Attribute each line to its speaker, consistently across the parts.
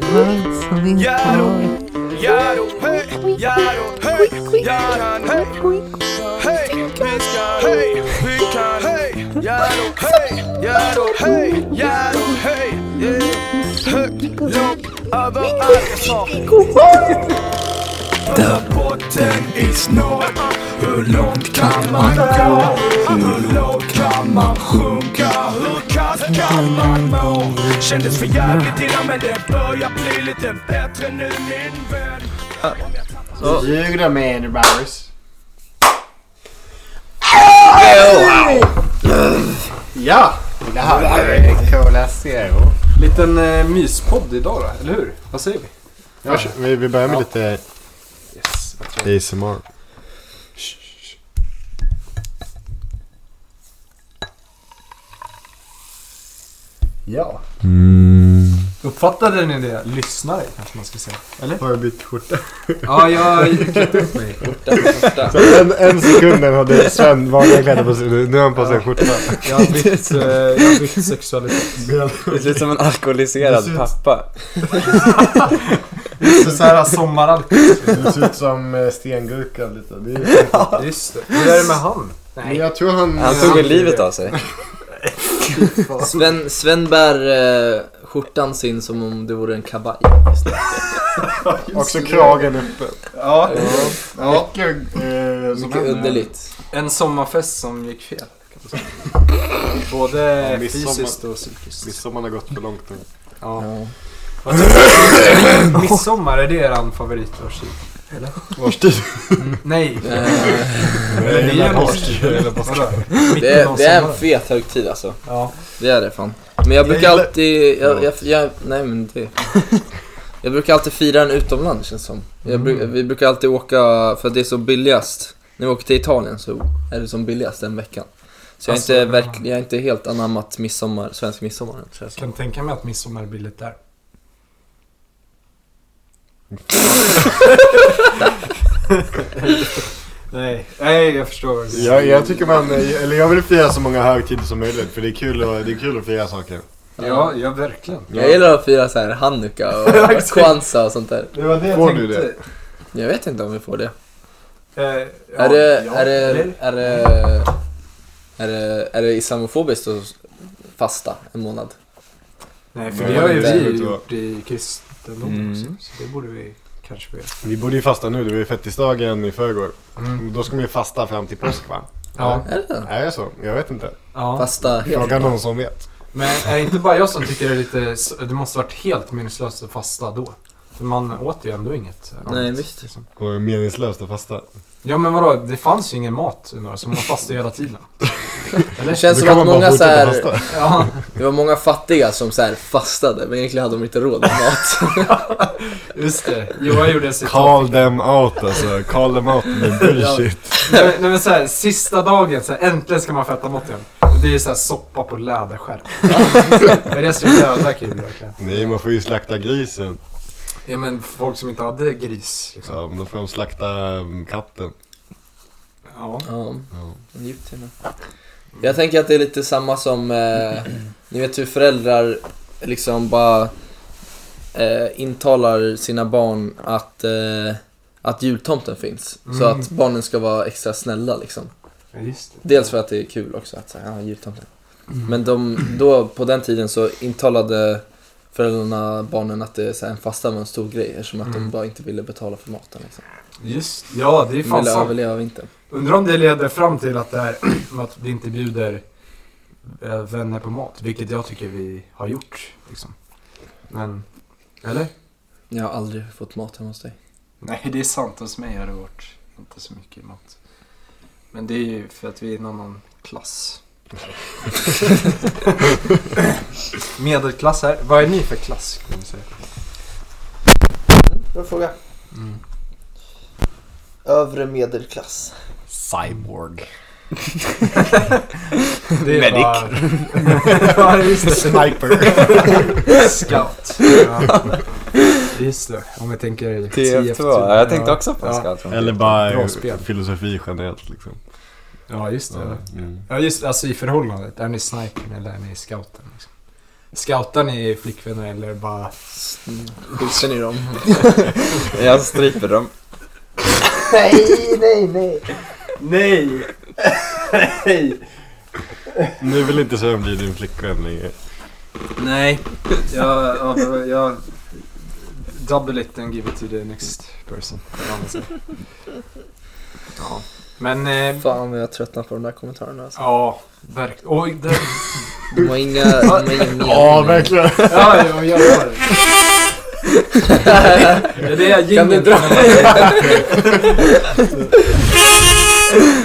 Speaker 1: Vad som vi har.
Speaker 2: Jaro, hej, jaro, hej, jaran, hej, hej, vi ska, hej, vi kan, hej, jaro, hej, jaro, hej, jaro, hej, yeah. högt, lågt, överallt jag sa. Där botten är snart, hur långt kan man gå? Hur lågt kan man sjunka? Hur kast kan man må? Kändes för jävligt innan men det börjar bli lite bättre nu min vän.
Speaker 3: Ljuger de med Andrew Bowers? Ja, det här är Cola Zero.
Speaker 4: Liten eh, myspodd idag då, eller hur? Vad säger vi?
Speaker 5: Varså- Vi vi börjar med lite
Speaker 4: Yes, jag tror
Speaker 5: ASMR.
Speaker 4: Ja. Uppfattade ni det? Lyssnare kanske man ska säga. Eller?
Speaker 5: Har jag bytt skjorta?
Speaker 4: Ja, jag klippte upp mig.
Speaker 5: En, en sekunden hade Sven vanliga kläder på sig. Nu har han på sig en skjorta.
Speaker 4: Jag har bytt, eh, jag har bytt sexualitet.
Speaker 6: Det ser ut som en alkoholiserad
Speaker 5: Det ser ut-
Speaker 6: pappa.
Speaker 4: Så så här sommaralkohol.
Speaker 5: Du ser ut som eh, stengurka lite.
Speaker 4: Just det. Hur är det med han?
Speaker 5: Men jag tror han...
Speaker 6: Han tog väl livet av sig.
Speaker 7: Sven, Sven bär eh, skjortan sin som om det vore en kavaj.
Speaker 5: Också kragen uppe.
Speaker 4: Ja.
Speaker 5: Ja. Mycket, eh, som
Speaker 7: Mycket
Speaker 5: händer.
Speaker 7: underligt.
Speaker 4: En sommarfest som gick fel. Kan man säga. Både
Speaker 5: Ja, midsommar.
Speaker 4: fysiskt och psykiskt.
Speaker 5: Midsommar har gått för långt nu.
Speaker 4: Ja. Vad tycker du? Midsommar, är det eran favoritårstid?
Speaker 5: Årstid.
Speaker 4: Nej.
Speaker 7: Eh,
Speaker 4: Eller det är ju en
Speaker 5: men-
Speaker 4: årstid. Eller vadå?
Speaker 7: det,
Speaker 4: Mitten av
Speaker 7: är, det är en
Speaker 4: sommaren.
Speaker 7: fet högtid alltså.
Speaker 4: Ja.
Speaker 7: Det är det fan. Men jag brukar
Speaker 5: gillar-
Speaker 7: alltid, jag, jag, jag, nej men det. Jag brukar alltid fira den utomlands känns som. Jag, bru-
Speaker 4: Mm.
Speaker 7: Vi brukar alltid åka, för att det är så billigast. När vi åker till Italien så är det som billigast den veckan. Så jag är,
Speaker 4: Alltså,
Speaker 7: inte, verk, jag är inte helt anammat midsommar, svensk midsommar. tror jag så.
Speaker 4: Kan tänka mig att midsommar blir lite där. Nej, nej jag förstår vad du säger.
Speaker 5: Jag, jag tycker man... Eller jag vill fira så många högtider som möjligt. För det är kul, och, det är kul att fira saker.
Speaker 4: Ja, ja verkligen.
Speaker 7: Jag gillar att fira så här hanukka
Speaker 4: Ja,
Speaker 7: och
Speaker 4: exakt.
Speaker 7: kwanza och sånt där.
Speaker 4: Det var det
Speaker 5: jag Får du tänkte.
Speaker 7: Jag vet inte om vi får det.
Speaker 4: Eh, ja,
Speaker 7: är, det
Speaker 4: ja,
Speaker 7: är, det,
Speaker 4: eller?
Speaker 7: är det... Är det... Är det islamofobiskt att fasta en månad?
Speaker 4: Nej, för
Speaker 5: Nej,
Speaker 4: det har ju
Speaker 5: det är
Speaker 4: vi
Speaker 5: inte
Speaker 4: gjort i kristendomen
Speaker 7: Mm.
Speaker 4: också. Så det borde vi kanske få göra.
Speaker 5: Vi borde ju fasta nu. Det var ju fettisdagen i förrgår.
Speaker 7: Mm.
Speaker 5: Då ska man ju fasta fram till påsk va?
Speaker 4: Ja,
Speaker 7: Är det det?
Speaker 5: Är det så? Jag vet inte.
Speaker 4: ja.
Speaker 7: Fasta helt?
Speaker 5: Fråga någon som vet.
Speaker 4: Men är det inte bara jag som tycker det är lite... s- Det måste varit helt meningslöst att fasta då. För man åt ju ändå inget. eh,
Speaker 7: Nej,
Speaker 4: annat,
Speaker 7: visst.
Speaker 4: liksom.
Speaker 5: Och meningslöst att fasta.
Speaker 4: Ja, men vadå? Det fanns ju ingen mat under så man fastade hela tiden.
Speaker 7: Det känns
Speaker 5: Då
Speaker 7: som
Speaker 5: kan man
Speaker 7: att
Speaker 5: bara
Speaker 7: många så
Speaker 5: fortsätta
Speaker 7: här,
Speaker 5: fasta.
Speaker 4: Ja.
Speaker 7: Det var många fattiga som så här fastade, men egentligen hade de inte råd med mat.
Speaker 4: Just det, Johan gjorde sitt
Speaker 5: Call them out alltså. Call them out med bullshit.
Speaker 4: Nej men- nej, men såhär, sista dagen, så här, äntligen ska man få äta mat igen. Och Det är såhär soppa på läderskärm. Men det är så jävla kul verkligen.
Speaker 5: Nej, man får ju slakta grisen.
Speaker 4: Ja men folk som inte hade gris liksom.
Speaker 5: Ja, men då får de slakta mm, katten.
Speaker 4: Ja.
Speaker 7: Ja,
Speaker 5: Ja.
Speaker 7: egyptierna. Jag tänker att det är lite samma som, eh, ni vet hur föräldrar liksom bara eh, intalar sina barn att, eh, att jultomten finns. Så
Speaker 4: Mm.
Speaker 7: att barnen ska vara extra snälla liksom.
Speaker 4: ja just det.
Speaker 7: Dels för att det är kul också att säga ja, jultomten. Men de, då, på den tiden så intalade föräldrarna barnen att det, så här, en fasta var en stor grej eftersom att de
Speaker 4: Mm.
Speaker 7: bara inte ville betala för maten. Liksom.
Speaker 4: Just Ja det är
Speaker 7: De
Speaker 4: fan
Speaker 7: ville
Speaker 4: sant.
Speaker 7: överleva vintern.
Speaker 4: Undrar om det leder fram till att det här, att vi inte bjuder eh, vänner på mat. Vilket jag tycker vi har gjort liksom. Men, eller?
Speaker 7: Jag har aldrig fått mat hemma hos dig.
Speaker 4: Nej, det är sant. Hos mig har det varit inte så mycket mat. Men det är ju för att vi är i en annan klass. Medelklass här. Vad är ni för klass? Kan vi säga?
Speaker 7: Bra fråga.
Speaker 4: Mm.
Speaker 7: Övre medelklass.
Speaker 5: Cyborg.
Speaker 4: Det är Medic. Bara... ja, just det.
Speaker 5: Sniper.
Speaker 4: Scout. Ja. Just det. Om vi tänker
Speaker 6: TF2. Ja, jag tänkte också på en
Speaker 4: Ja.
Speaker 6: scout.
Speaker 5: Eller bara
Speaker 4: Bra
Speaker 5: eh,
Speaker 4: spel.
Speaker 5: filosofi generellt liksom.
Speaker 4: Ja, just det.
Speaker 5: Mm.
Speaker 4: Ja, just det. Alltså i förhållandet. Är ni snipern eller är ni scouten? Liksom? Scoutar ni flickvänner eller bara...
Speaker 7: Skjuter ni dem?
Speaker 8: Jag stryper dem.
Speaker 1: Nej, nej, nej. Nej. nej.
Speaker 5: Nu vill inte Sven bli din flickvän längre.
Speaker 4: Nej, jag... jag, jag double it and give it to the next person. eller vad man säger. Ja. Men... Eh,
Speaker 7: Fan vad jag tröttnar på de där kommentarerna alltså.
Speaker 4: ja, verkligen. Oj, det...
Speaker 7: De har inga, de har ingen mening.
Speaker 5: Ja, verkligen.
Speaker 4: Ja, jag gör det. Det är det jag
Speaker 7: Kan du
Speaker 4: gillar.
Speaker 7: dra?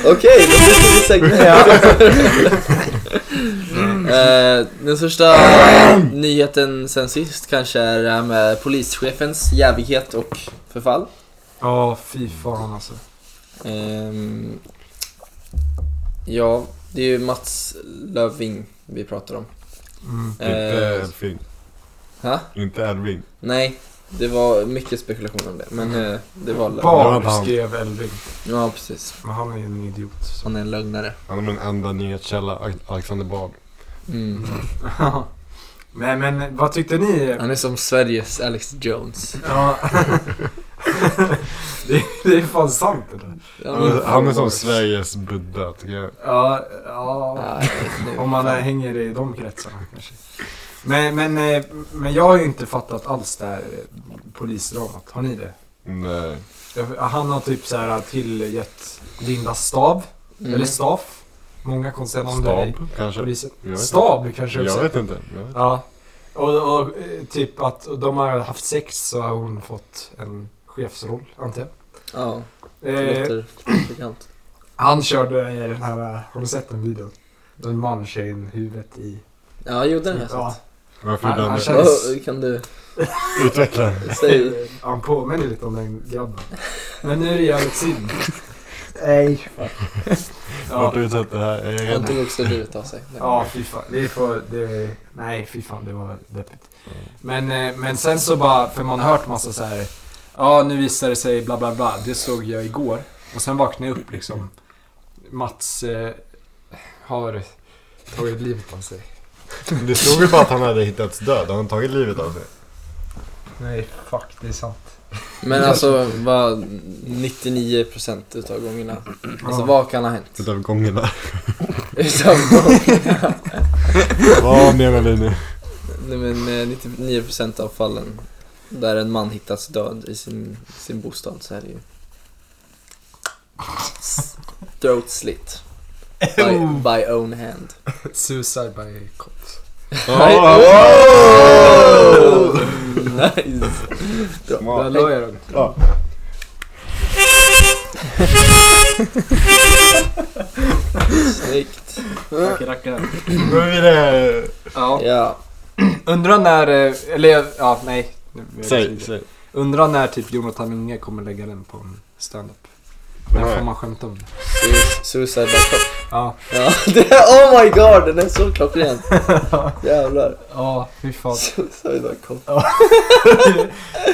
Speaker 7: Okej, då byter vi segment. Eh, Den största nyheten sen sist kanske är det här med polischefens jävighet och förfall.
Speaker 4: Ja, fy fan alltså.
Speaker 7: Ehm, ja, det är ju Mats Löving vi pratar om.
Speaker 4: Mm.
Speaker 5: Inte
Speaker 7: Eh,
Speaker 5: Edvin.
Speaker 7: ha?
Speaker 5: Inte Edvin.
Speaker 7: Nej, det var mycket spekulation om det. Men eh, det var lögn.
Speaker 5: Det var inte
Speaker 4: Bar
Speaker 5: han.
Speaker 4: skrev Elving.
Speaker 7: Ja, precis.
Speaker 4: Men han är ju en idiot. Så.
Speaker 7: Han är en lögnare.
Speaker 5: Han är min enda nyhetskälla, Al- Alexander Bard.
Speaker 7: Mm.
Speaker 4: Nej men vad tyckte ni?
Speaker 7: Han är som Sveriges Alex Jones.
Speaker 4: Ja. det, är- det är fan sant det där.
Speaker 7: Ja,
Speaker 5: Han är,
Speaker 7: men-
Speaker 5: han är som Sveriges Buddha tycker jag.
Speaker 4: Ja, ja.
Speaker 7: Nej, nu.
Speaker 4: Om man eh, hänger i de kretsarna kanske. Men, men, eh, men jag har ju inte fattat alls det här eh, polisdramat. Har ni det?
Speaker 5: Nej.
Speaker 4: Jag- Han har typ så här tillgett Linda Stav,
Speaker 7: Mm.
Speaker 4: eller Staff, många konstiga namn. där i
Speaker 5: Stab kanske?
Speaker 4: polisen.
Speaker 5: Jag vet
Speaker 4: Stab kanske också.
Speaker 5: Jag vet inte. Jag vet.
Speaker 4: Ja. Och, och eh, typ att de har haft sex så har hon fått en chefsroll, antar jag.
Speaker 7: Ja, det
Speaker 4: Eh,
Speaker 7: låter bekant.
Speaker 4: han körde i den här, eh, har du sett den videon? En man kör in huvudet i...
Speaker 7: Ja, jo den har jag
Speaker 4: Ja,
Speaker 7: sett.
Speaker 5: Varför
Speaker 4: Han-
Speaker 5: den
Speaker 4: han känner-
Speaker 7: Ja, kan du
Speaker 5: utveckla?
Speaker 7: säga?
Speaker 4: han påminner lite om den grabben. Men nu är det jävligt synd.
Speaker 1: Nej.
Speaker 5: Vart
Speaker 4: Ja,
Speaker 5: har du sett det här? Jag är
Speaker 7: Han
Speaker 5: rädd.
Speaker 7: tog också livet av sig.
Speaker 4: ja fy fan. Det är för, det är, nej, fy fan, det var deppigt. Men, eh, men sen så bara, för man har hört massa så här. Ja, nu visar det sig bla bla bla. Det såg jag igår. Och sen vaknade jag upp liksom. Mats eh, har tagit livet av sig.
Speaker 5: Det stod ju bara att han hade hittats död. Han hade tagit livet av sig.
Speaker 4: Nej, fuck, det är sant.
Speaker 7: Men alltså, vad 99% utav gångerna. Alltså vad kan ha hänt?
Speaker 5: Utav gångerna.
Speaker 7: Utav gångerna.
Speaker 5: Vad menar vi nu?
Speaker 7: Nej men eh, 99% av fallen där en man hittas död i sin, sin bostad så är det ju throat slit. By, by own hand.
Speaker 4: Suicide by cops.
Speaker 7: Nej.
Speaker 5: Wow!
Speaker 7: Nice!
Speaker 4: Där la jag den.
Speaker 5: Ja.
Speaker 7: Snyggt.
Speaker 4: Tackar, tackar.
Speaker 5: Nu är vi det.
Speaker 4: Ja.
Speaker 7: Ja.
Speaker 4: Undrar när, eh, eller ja, nej. Nu blir jag
Speaker 5: Säg,
Speaker 4: tidig.
Speaker 5: säg.
Speaker 4: Undrar när typ Jonathan Unge kommer lägga den på en standup. När får man skämta om det?
Speaker 7: Su- Suicide by cop.
Speaker 4: Ja.
Speaker 7: Ja, det är, oh my god, den är så klockren. Jävlar.
Speaker 4: Ja, fy fan.
Speaker 7: Suicide by cop.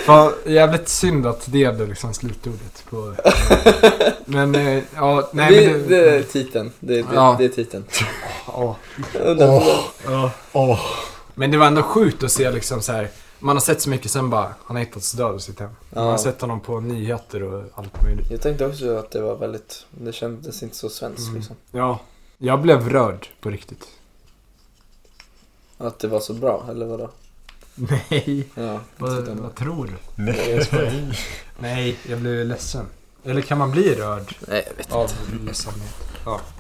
Speaker 4: fan. Jävligt synd att det blev liksom slutordet på... Men, eh, ja, nej
Speaker 7: det,
Speaker 4: men
Speaker 7: det är titeln. Det, det,
Speaker 4: Ja.
Speaker 7: det är titeln.
Speaker 4: ja.
Speaker 7: Oh.
Speaker 4: Ja.
Speaker 5: Åh.
Speaker 4: Men det var ändå sjukt att se liksom så här. Man har sett så mycket sen bara, han har hittats död i sitt hem. Man har
Speaker 7: Ja.
Speaker 4: sett honom på nyheter och allt möjligt.
Speaker 7: Jag tänkte också att det var väldigt, det kändes inte så svenskt liksom.
Speaker 4: Ja, jag blev rörd på riktigt.
Speaker 7: Att det var så bra, eller vadå?
Speaker 4: Nej,
Speaker 7: Ja,
Speaker 4: tror du?
Speaker 5: Nej.
Speaker 4: Nej, jag blev ledsen. Eller kan man bli rörd
Speaker 7: Nej, jag vet inte.
Speaker 4: av ledsamhet?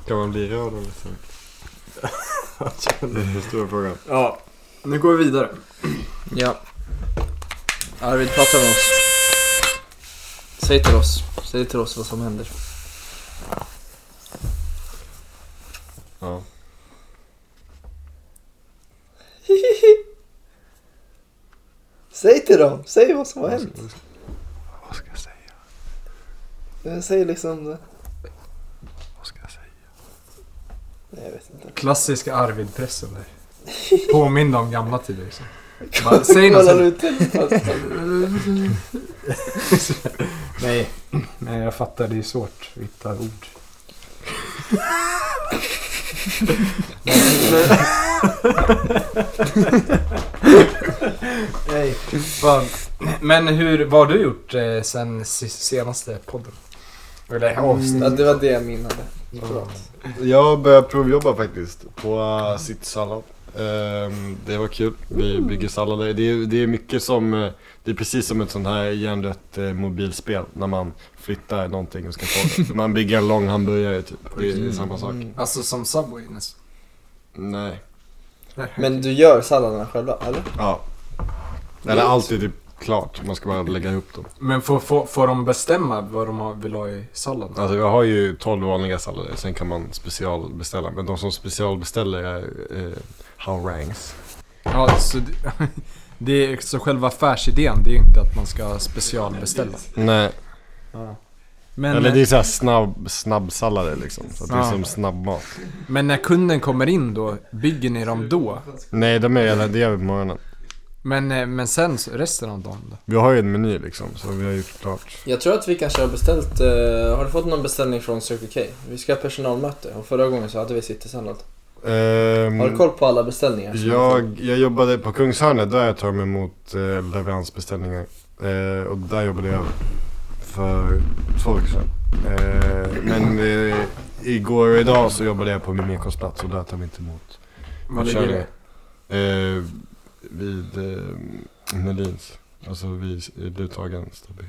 Speaker 5: Kan man bli rörd av det? Det är den stora frågan.
Speaker 4: Ja, nu går vi vidare.
Speaker 7: Ja. Arvid, prata med oss. Säg till oss. Säg till oss vad som händer.
Speaker 5: Ja.
Speaker 7: Säg till dem. Säg vad som har hänt.
Speaker 5: Vad ska jag säga?
Speaker 7: Säg liksom...
Speaker 5: Vad ska jag säga?
Speaker 7: Nej, jag vet inte.
Speaker 4: Klassiska Arvid-pressen där. Påminner om gamla tider liksom. Bara, säg något.
Speaker 7: Kolla
Speaker 4: sen.
Speaker 7: ut telefonen.
Speaker 4: Nej, nej jag fattar. Det är svårt att hitta ord. Nej, fan. Men hur, vad har du gjort eh, sen si- senaste podden? Eller avsnittet?
Speaker 7: Ja, det var det jag menade.
Speaker 5: Mm. Jag började provjobba faktiskt på uh, sitt sallad. Ehm, det var kul. Vi bygger sallader. Det är, det är mycket som, eh, det är precis som ett sånt här hjärndött eh, mobilspel när man flyttar någonting och ska få det. Man bygger en lång hamburgare typ. Det är samma sak.
Speaker 7: Mm.
Speaker 4: Alltså som Subway nästan.
Speaker 5: Nej.
Speaker 7: Men du gör salladerna själva, eller?
Speaker 5: Ja. Eller allt är typ klart. Man ska bara lägga ihop dem.
Speaker 4: Men får, får, får de bestämma vad de har- vill ha i salladen?
Speaker 5: Alltså jag har ju 12 vanliga sallader. Sen kan man specialbeställa. Men de som specialbeställer är eh, harangues.
Speaker 4: Ja, så det, det är, så själva affärsidén, det är ju inte att man ska specialbeställa.
Speaker 5: Nej.
Speaker 4: Men,
Speaker 5: Eller det är såhär snabb, snabbsallader liksom. Så att det
Speaker 4: Ja.
Speaker 5: är som snabbmat.
Speaker 4: eh, men när kunden kommer in då, bygger ni dem då?
Speaker 5: Nej, de är redan, det gör vi på morgonen.
Speaker 4: Men, eh, men sen så- resten av dagen då?
Speaker 5: Vi har ju en meny liksom, så vi har gjort klart.
Speaker 7: Jag tror att vi kanske har beställt... eh, har du fått någon beställning från Circle K? Vi ska ha personalmöte och förra gången så hade vi citysallad.
Speaker 5: Ehm,
Speaker 7: Har du koll på alla beställningar?
Speaker 5: jag, jag jobbade på Kungshörnet, där jag tar mig emot eh, leveransbeställningar. Eh, och där jobbade jag för två veckor sedan. Eh, men eh, igår och idag så jobbade jag på min mekosplats och där tar vi inte emot.
Speaker 4: Vad
Speaker 5: Kör
Speaker 4: ligger det?
Speaker 5: Eh, vid eh, Nelins, alltså vid Luthagen, Stabby.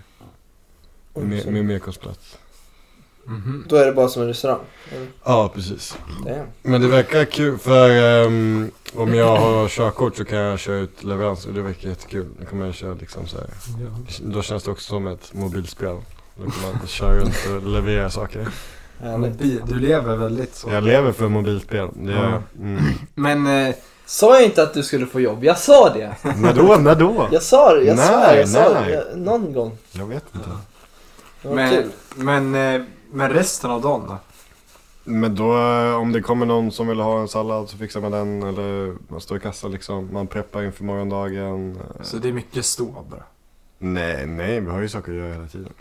Speaker 5: Med, med mekosplats.
Speaker 4: Mhm.
Speaker 7: Då är det bara som en restaurang.
Speaker 5: Ja, precis.
Speaker 7: Det är.
Speaker 5: Men det verkar kul för ehm, om jag har körkort så kan jag köra ut leverans och det verkar jättekul. Då kommer jag köra liksom så här.
Speaker 4: Ja.
Speaker 5: Då känns det också som ett mobilspel. Då kan man köra runt och leverera saker.
Speaker 4: Men bi- Du lever väldigt så.
Speaker 5: Jag lever för mobilspel. Det gör jag. Mm.
Speaker 4: Men eh,
Speaker 7: Sa jag inte att du skulle få jobb? Jag sa det!
Speaker 5: När då? När då?
Speaker 7: Jag sa det, jag
Speaker 5: Nej,
Speaker 7: svär, jag sa
Speaker 5: nej.
Speaker 7: det. Jag- Någon gång.
Speaker 5: Jag vet inte.
Speaker 7: Det var
Speaker 4: Men-
Speaker 7: kul.
Speaker 4: Men, eh, men resten av dagen då?
Speaker 5: Men då eh, om det kommer någon som vill ha en sallad så fixar man den. Eller man står i kassa liksom. Man preppar inför morgondagen. Eh,
Speaker 4: Så det är mycket stå bara.
Speaker 5: Nej, nej. Vi har ju saker att göra hela tiden.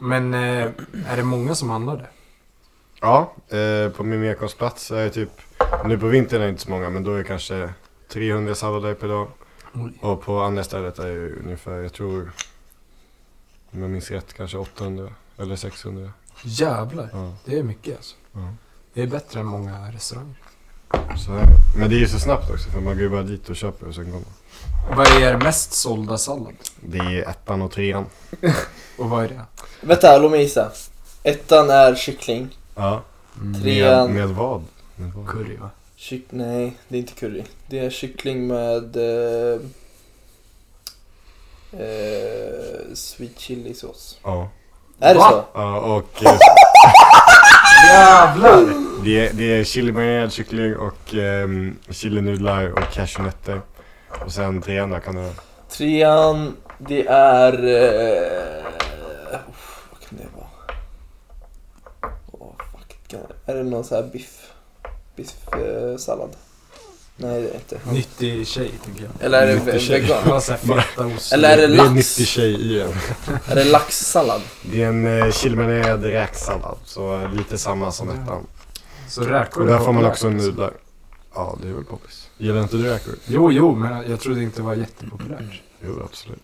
Speaker 4: Men eh, är det många som handlar det?
Speaker 5: Ja, eh, på min mekonstplats är det typ, nu på vintern är det inte så många men då är det kanske 300 sallader per dag.
Speaker 4: Oj.
Speaker 5: Och på andra stället är det ungefär, jag tror, om jag minns rätt, kanske 800 eller 600.
Speaker 4: Jävlar,
Speaker 5: Ja.
Speaker 4: det är mycket alltså.
Speaker 5: Ja.
Speaker 4: Det är bättre än många restauranger.
Speaker 5: Så är det. Men det är ju så snabbt också för man går ju bara dit och köper och sen går man.
Speaker 4: Vad är er mest sålda sallad?
Speaker 5: Det är ettan och trean.
Speaker 4: Och vad är det?
Speaker 7: Vänta, låt mig gissa. Ettan är kyckling.
Speaker 5: Ja. Med,
Speaker 7: Trean...
Speaker 5: med vad? Med vad?
Speaker 4: Curry va?
Speaker 7: Kyck... Nej, det är inte curry. Det är kyckling med... Eh, eh, sweet chili sås.
Speaker 5: Ja.
Speaker 7: Är det
Speaker 4: Va?
Speaker 7: så?
Speaker 5: ja och eh,
Speaker 4: Jävlar!
Speaker 5: det, är, det är chilimarinad kyckling och eh, chilinudlar och cashewnötter. Och sen trean då kan du
Speaker 7: Trean, det är... Eh, uff, vad kan det vara? Åh, fuck. Kan, är det någon sån här biff... Biffsallad? Eh, sallad? Nej, det är inte.
Speaker 4: Nyttig tjej tänker jag.
Speaker 7: Eller är det
Speaker 5: Nyttig
Speaker 7: ve-
Speaker 5: tjej.
Speaker 7: vegan?
Speaker 4: Bara såhär fetaost.
Speaker 7: Eller är det
Speaker 5: Det är
Speaker 7: lax?
Speaker 5: en nyttig tjej i en.
Speaker 7: Är det laxsallad?
Speaker 5: Det är en eh, chilimarinad räksallad, så lite samma som ettan.
Speaker 4: Så räkor
Speaker 5: Och
Speaker 4: är
Speaker 5: där får man
Speaker 4: populärt,
Speaker 5: också
Speaker 4: alltså.
Speaker 5: nudlar. Ja, det är väl poppis. Gillar inte du räkor?
Speaker 4: Jo, jo, men jag trodde inte det var jättepopulärt.
Speaker 5: Jo, absolut.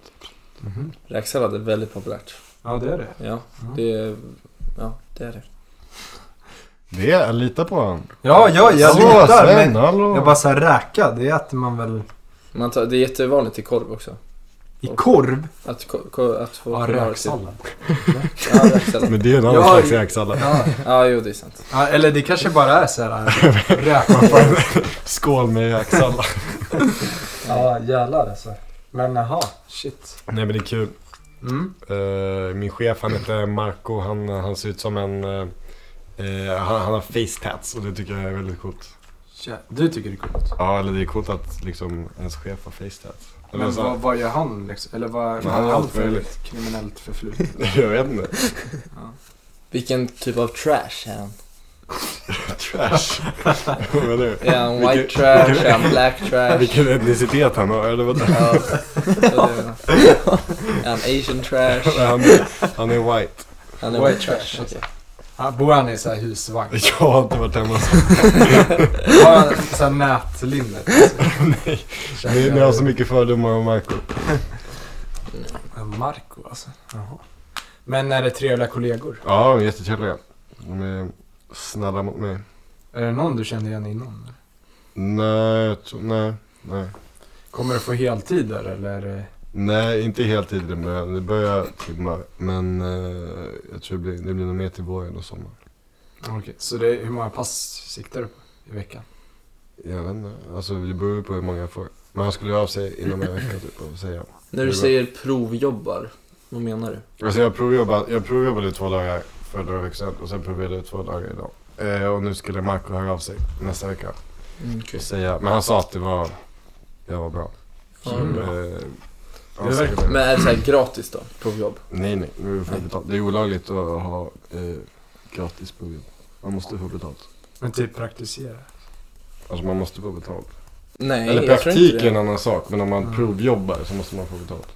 Speaker 5: Mhm.
Speaker 7: Räksallad är väldigt populärt.
Speaker 4: Ja, det är det.
Speaker 7: Ja, det är... Ja, det är det.
Speaker 5: Det, jag litar på honom.
Speaker 4: Ja, ja, jag litar.
Speaker 5: Sven,
Speaker 4: Men
Speaker 5: hallå.
Speaker 4: jag bara såhär räka, det äter man väl
Speaker 7: Man tar, det är jättevanligt i korv också.
Speaker 4: i korv?
Speaker 7: Att, ko, ko, att få...
Speaker 4: Ja, räksallad.
Speaker 7: Ja, räksallad.
Speaker 5: Men det är en annan
Speaker 4: Ja,
Speaker 5: slags
Speaker 4: ja.
Speaker 5: räksallad.
Speaker 4: Ja.
Speaker 7: Ja, jo, det är sant.
Speaker 4: Ja, eller det kanske bara är så här rökmaffa.
Speaker 5: Skål med räksallad.
Speaker 4: ja, jävlar alltså. Men jaha, shit.
Speaker 5: Nej, men det är kul.
Speaker 4: Mm.
Speaker 5: Eh, min chef, han heter Marco. Han, han ser ut som en... eh, eh, han, han har face tats och det tycker jag är väldigt coolt.
Speaker 4: Tja, Du tycker det är coolt.
Speaker 5: Ja, eller det är coolt att liksom ens chef har face tats. Eller
Speaker 4: Men
Speaker 5: så-
Speaker 4: vad, vad gör han liksom? Eller vad, vad
Speaker 5: Han
Speaker 4: har
Speaker 5: har
Speaker 4: han
Speaker 5: allt
Speaker 4: för
Speaker 5: möjligt.
Speaker 4: kriminellt förflutet?
Speaker 5: Jag vet inte.
Speaker 7: Vilken typ av trash är han?
Speaker 5: Trash. Vad menar du?
Speaker 7: Är han
Speaker 5: Vilken-
Speaker 7: white trash? Är han black trash?
Speaker 5: Vilken etnicitet han har, eller vad
Speaker 7: Ja, det är han. Är han asian trash?
Speaker 5: han, han är white.
Speaker 7: Han är
Speaker 4: White
Speaker 7: white
Speaker 4: trash,
Speaker 5: alltså.
Speaker 7: trash, okej.
Speaker 4: Han, bor han i så här husvagn?
Speaker 5: Jag har inte varit hemma så.
Speaker 4: Har han så här nätlinne?
Speaker 5: Nej. Ni, ni har så mycket fördomar om Marco.
Speaker 4: Marco alltså. Jaha. Men är det trevliga kollegor?
Speaker 5: Ja, de är jättetrevliga. De är snälla mot mig.
Speaker 4: Är det någon du kände igen innan?
Speaker 5: Nej, jag tror- nej, nej.
Speaker 4: Kommer du få heltid där eller?
Speaker 5: Nej, inte helt tiden men det börjar timma. Men eh, jag tror det blir, det blir nog mer till våren och sommaren.
Speaker 4: Okej, så det, hur många pass siktar du på i veckan?
Speaker 5: Jag vet inte, alltså det beror ju på hur många jag får. Men han skulle höra av sig inom en vecka typ och säga.
Speaker 1: När du säger provjobbar, vad menar du?
Speaker 5: Alltså jag provjobbade, jag provjobbade i två dagar för några veckor sedan och sen provjobbade jag i två dagar idag. Eh, och nu skulle Marco höra av sig nästa vecka
Speaker 1: Mm,
Speaker 5: och säga, men han sa att det var, jag var bra.
Speaker 1: Ja,
Speaker 4: Mm.
Speaker 1: bra.
Speaker 5: Eh,
Speaker 4: Det är
Speaker 5: ja,
Speaker 4: verkligen-
Speaker 5: så-
Speaker 1: Men är det så här gratis då? Provjobb?
Speaker 5: Nej nej, nu får jag betalt. Det är olagligt att ha eh, gratis provjobb. Man måste få betalt.
Speaker 4: Men typ praktisera.
Speaker 5: Alltså man måste få betalt.
Speaker 1: Nej,
Speaker 5: Eller
Speaker 1: jag tror
Speaker 5: praktik
Speaker 1: inte
Speaker 5: är en
Speaker 1: det.
Speaker 5: annan sak, men om man
Speaker 4: Mm.
Speaker 5: provjobbar så måste man få betalt.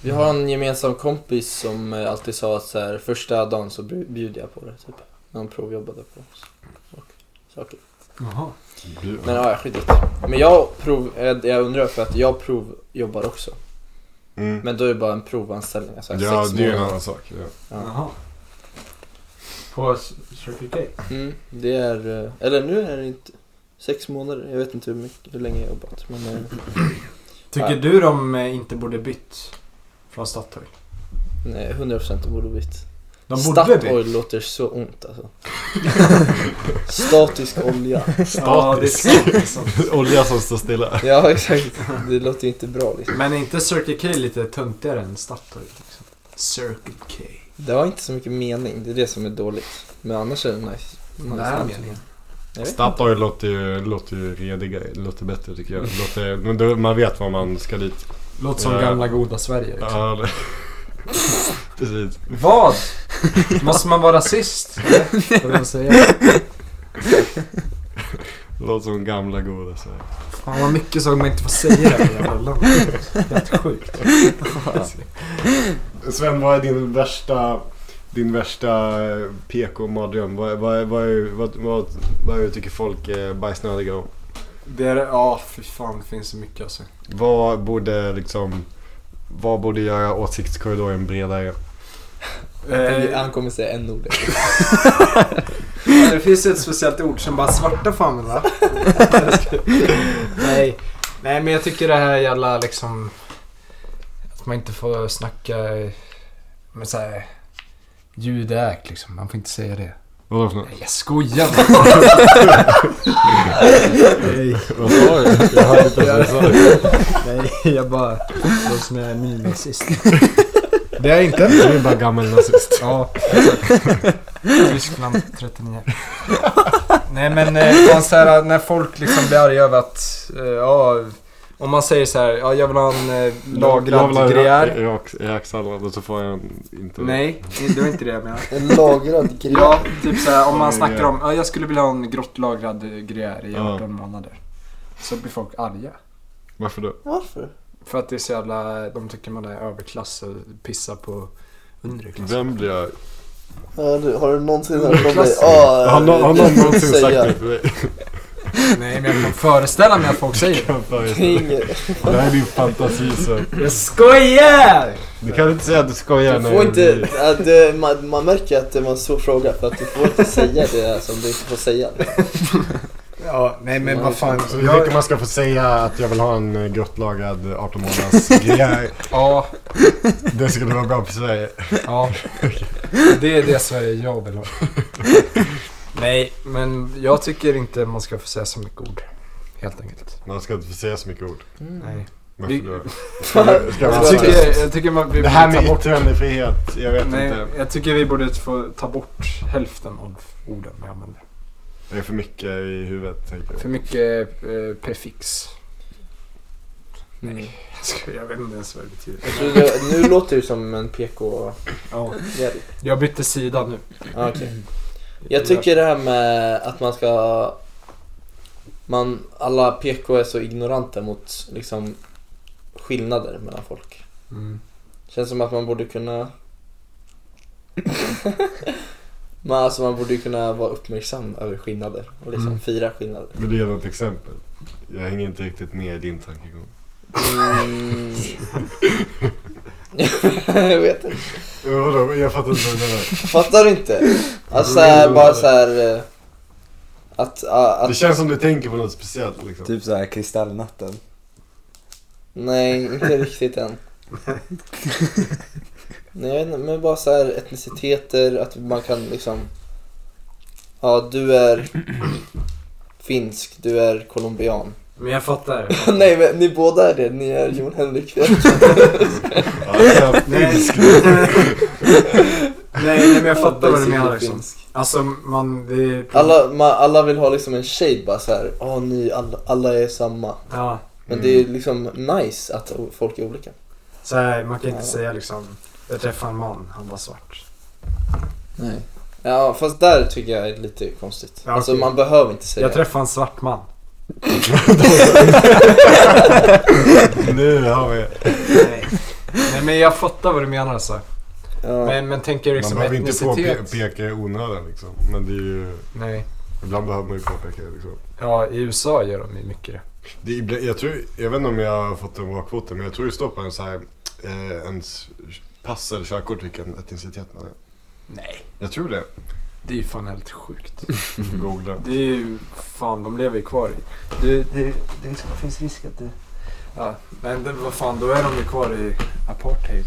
Speaker 1: Vi har en gemensam kompis som eh, alltid sa att så här, första dagen så bru- bjuder jag på det, typ. När han provjobbade på oss. Och saker.
Speaker 4: Jaha.
Speaker 1: Men ja, skit i det. Men jag prov, eh, jag undrar för att jag provjobbar också.
Speaker 5: Mm.
Speaker 1: Men då är det bara en provanställning, alltså
Speaker 5: ja,
Speaker 1: sex
Speaker 5: det är en
Speaker 1: månader.
Speaker 5: annan sak. Ja.
Speaker 1: Ja.
Speaker 4: Jaha. På Circle K?
Speaker 1: Mm, det är, eh, eller nu är det inte, sex månader, jag vet inte hur, mycket, hur länge jag har jobbat. Men, eh,
Speaker 4: Tycker
Speaker 1: Ja.
Speaker 4: du de eh, inte borde bytt från Statoil?
Speaker 1: nej, 100% borde bytt.
Speaker 4: De borde bytt.
Speaker 1: Statoil låter så ont alltså. Statisk olja.
Speaker 4: Ja, det är sant.
Speaker 5: Olja som står stilla.
Speaker 1: Ja exakt, det låter ju inte bra liksom.
Speaker 4: Men är inte Circle K lite töntigare än Statoil? Liksom? Circle K.
Speaker 1: Det har inte så mycket mening, det är det som är dåligt. Men annars är det nice. nice
Speaker 4: Vad är
Speaker 1: liksom.
Speaker 4: meningen?
Speaker 1: Jag vet inte.
Speaker 5: Statoil låter ju, låter ju redigare, det låter bättre tycker jag. Det Låter, men då, man vet var man ska dit.
Speaker 4: Låter som
Speaker 5: Ja.
Speaker 4: gamla goda Sverige liksom.
Speaker 5: Ja, det- precis.
Speaker 4: Vad? Måste man vara rasist? Eller Vad de säger?
Speaker 5: Låter som gamla goda så. här.
Speaker 4: Fan vad mycket saker man inte får säga i det här jävla landet. Helt sjukt.
Speaker 5: Sven, vad är din värsta, din värsta eh, PK-mardröm? Vad, vad, vad, är- vad, vad, vad är det du tycker folk är bajsnödiga om?
Speaker 4: Det är, ja fy fan det finns så mycket alltså.
Speaker 5: Vad borde liksom... Vad borde göra åsiktskorridoren bredare?
Speaker 1: Vi-
Speaker 4: Eh,
Speaker 1: Han kommer säga en ord.
Speaker 4: det finns ju ett speciellt ord som bara svarta får använda. Nej. Nej men jag tycker det här jävla liksom... Att man inte får snacka med såhär judäk liksom. Man får inte säga det.
Speaker 5: Vadå för något?
Speaker 4: Nej jag skojar bara. Nej.
Speaker 5: Vad sa du? Jag hörde inte ens vad du sa.
Speaker 4: Nej, jag bara låter som jag är nynazist.
Speaker 5: Det är inte Du är bara gammal nazist.
Speaker 4: Ja, Tyskland 39. Nej men eh, fan så här, när folk liksom blir arga över att, eh, ja, om man säger så här, ja jag vill ha en eh, lagrad gruyère.
Speaker 5: Räksallad och så får jag en inte...
Speaker 4: Nej, det var inte det jag menade.
Speaker 1: En lagrad grej.
Speaker 4: Ja, typ så här, om man snackar om, ja jag skulle vilja ha en grottlagrad eh, gruyère i
Speaker 5: Ja.
Speaker 4: 18 månader. Så blir folk arga.
Speaker 5: Varför då?
Speaker 1: Varför?
Speaker 4: För att det är så jävla, de tycker man är överklass och pissar på underklass.
Speaker 5: Vem blir jag?
Speaker 1: Har du, har du någonsin hört Ah, någon
Speaker 4: Klassen.
Speaker 1: Ja,
Speaker 5: Har någon, har någon någonsin
Speaker 1: säga.
Speaker 5: sagt det till mig?
Speaker 4: Nej men jag kan föreställa mig att folk säger det.
Speaker 5: Kan
Speaker 1: Det är
Speaker 5: föreställa dig.
Speaker 1: inget-
Speaker 5: Det här är din fantasi Sven.
Speaker 4: Jag skojar!
Speaker 5: Du kan inte säga att du skojar
Speaker 1: Du
Speaker 5: när
Speaker 1: får
Speaker 5: det
Speaker 1: inte,
Speaker 5: blir-
Speaker 1: att, eh, man, man märker att det var en svår fråga för att du får inte säga det som du inte får säga.
Speaker 4: Ja, nej men vad fan.
Speaker 5: Så jag tycker man ska få säga att jag vill ha en eh, grottlagad 18 månaders gruyère.
Speaker 4: Ja,
Speaker 5: Det skulle vara bra för Sverige.
Speaker 4: ja. Det är det Sverige jag vill ha. Nej, men jag tycker inte man ska få säga så mycket ord. Helt enkelt.
Speaker 5: Man ska inte få säga så mycket ord.
Speaker 4: Nej.
Speaker 5: Varför
Speaker 4: Vi-
Speaker 5: då? Ska man- ska man-
Speaker 4: Jag tycker, jag tycker man, vi
Speaker 5: Det här
Speaker 4: borde ta
Speaker 5: med
Speaker 4: bort...
Speaker 5: yttrandefrihet, jag vet
Speaker 4: Nej,
Speaker 5: inte.
Speaker 4: jag tycker vi borde få ta bort hälften av orden vi använder.
Speaker 5: Det är för mycket i huvudet tänker jag.
Speaker 4: För mycket eh, prefix.
Speaker 1: Mm.
Speaker 4: Nej, jag skojar. Jag vet inte ens vad det betyder.
Speaker 1: Jag tror det, nu låter du som en PK...
Speaker 4: Ja,
Speaker 1: Jerry.
Speaker 4: jag bytte sida nu.
Speaker 1: Ja, ah, okej. Jag tycker det här med att man ska... Man, alla PK är så ignoranta mot liksom, skillnader mellan folk.
Speaker 4: Mm.
Speaker 1: Känns som att man borde kunna... Men alltså man borde ju kunna vara uppmärksam över skillnader och liksom
Speaker 4: Mm.
Speaker 1: fira skillnader.
Speaker 5: Vill du ge något exempel? Jag hänger inte riktigt med i din tankegång.
Speaker 1: Mm. jag vet inte.
Speaker 5: Vadå, jag fattar inte vad du menar.
Speaker 1: Fattar du inte? Alltså såhär, bara såhär... eh, Att, a-
Speaker 5: Det
Speaker 1: att...
Speaker 5: känns som du tänker på något speciellt liksom.
Speaker 7: Typ såhär kristallnatten.
Speaker 1: Nej, inte riktigt än. Nej, jag vet inte, men bara så här etniciteter, att man kan liksom... Ja, du är finsk, du är colombian.
Speaker 4: Men jag fattar.
Speaker 1: Nej, men ni båda är det, ni är Jon Henrik.
Speaker 5: Ja, det är-
Speaker 4: Nej. nej, nej men jag fattar vad du menar liksom.
Speaker 1: Finsk.
Speaker 4: Alltså man, det är...
Speaker 1: Alla, man, alla vill ha liksom en shade bara så här. Ja, ni alla, alla är samma.
Speaker 4: Ja,
Speaker 1: Men det är liksom nice att o- folk är olika.
Speaker 4: så här, man kan inte
Speaker 1: Ja.
Speaker 4: säga liksom, jag träffade en man, han var svart.
Speaker 1: Nej. Ja, fast där tycker jag är lite konstigt.
Speaker 4: Ja,
Speaker 1: Alltså
Speaker 4: okej.
Speaker 1: man behöver inte säga
Speaker 4: Jag träffade en svart man.
Speaker 5: Nu har vi...
Speaker 4: Nej. nej men jag fattar vad du menar alltså.
Speaker 1: Ja.
Speaker 4: Men, men tänker
Speaker 5: Man
Speaker 4: liksom
Speaker 5: behöver inte
Speaker 4: etnicitet.
Speaker 5: påpeka i onödan liksom. Men det är ju...
Speaker 4: Nej.
Speaker 5: Ibland behöver man ju påpeka det liksom.
Speaker 4: Ja, i USA gör de ju mycket det.
Speaker 5: Det, är ibland- jag, tror, jag vet inte om jag har fått den bakfoten men jag tror det står på en så här, eh, ens pass eller körkort vilken etnicitet man är.
Speaker 4: Nej.
Speaker 5: Jag tror det.
Speaker 4: Det är ju fan helt sjukt.
Speaker 5: Googla.
Speaker 4: Det är ju, fan de lever ju kvar i. Det, det, det finns risk att det... Ja, men det, vad fan, då är de ju kvar i apartheid.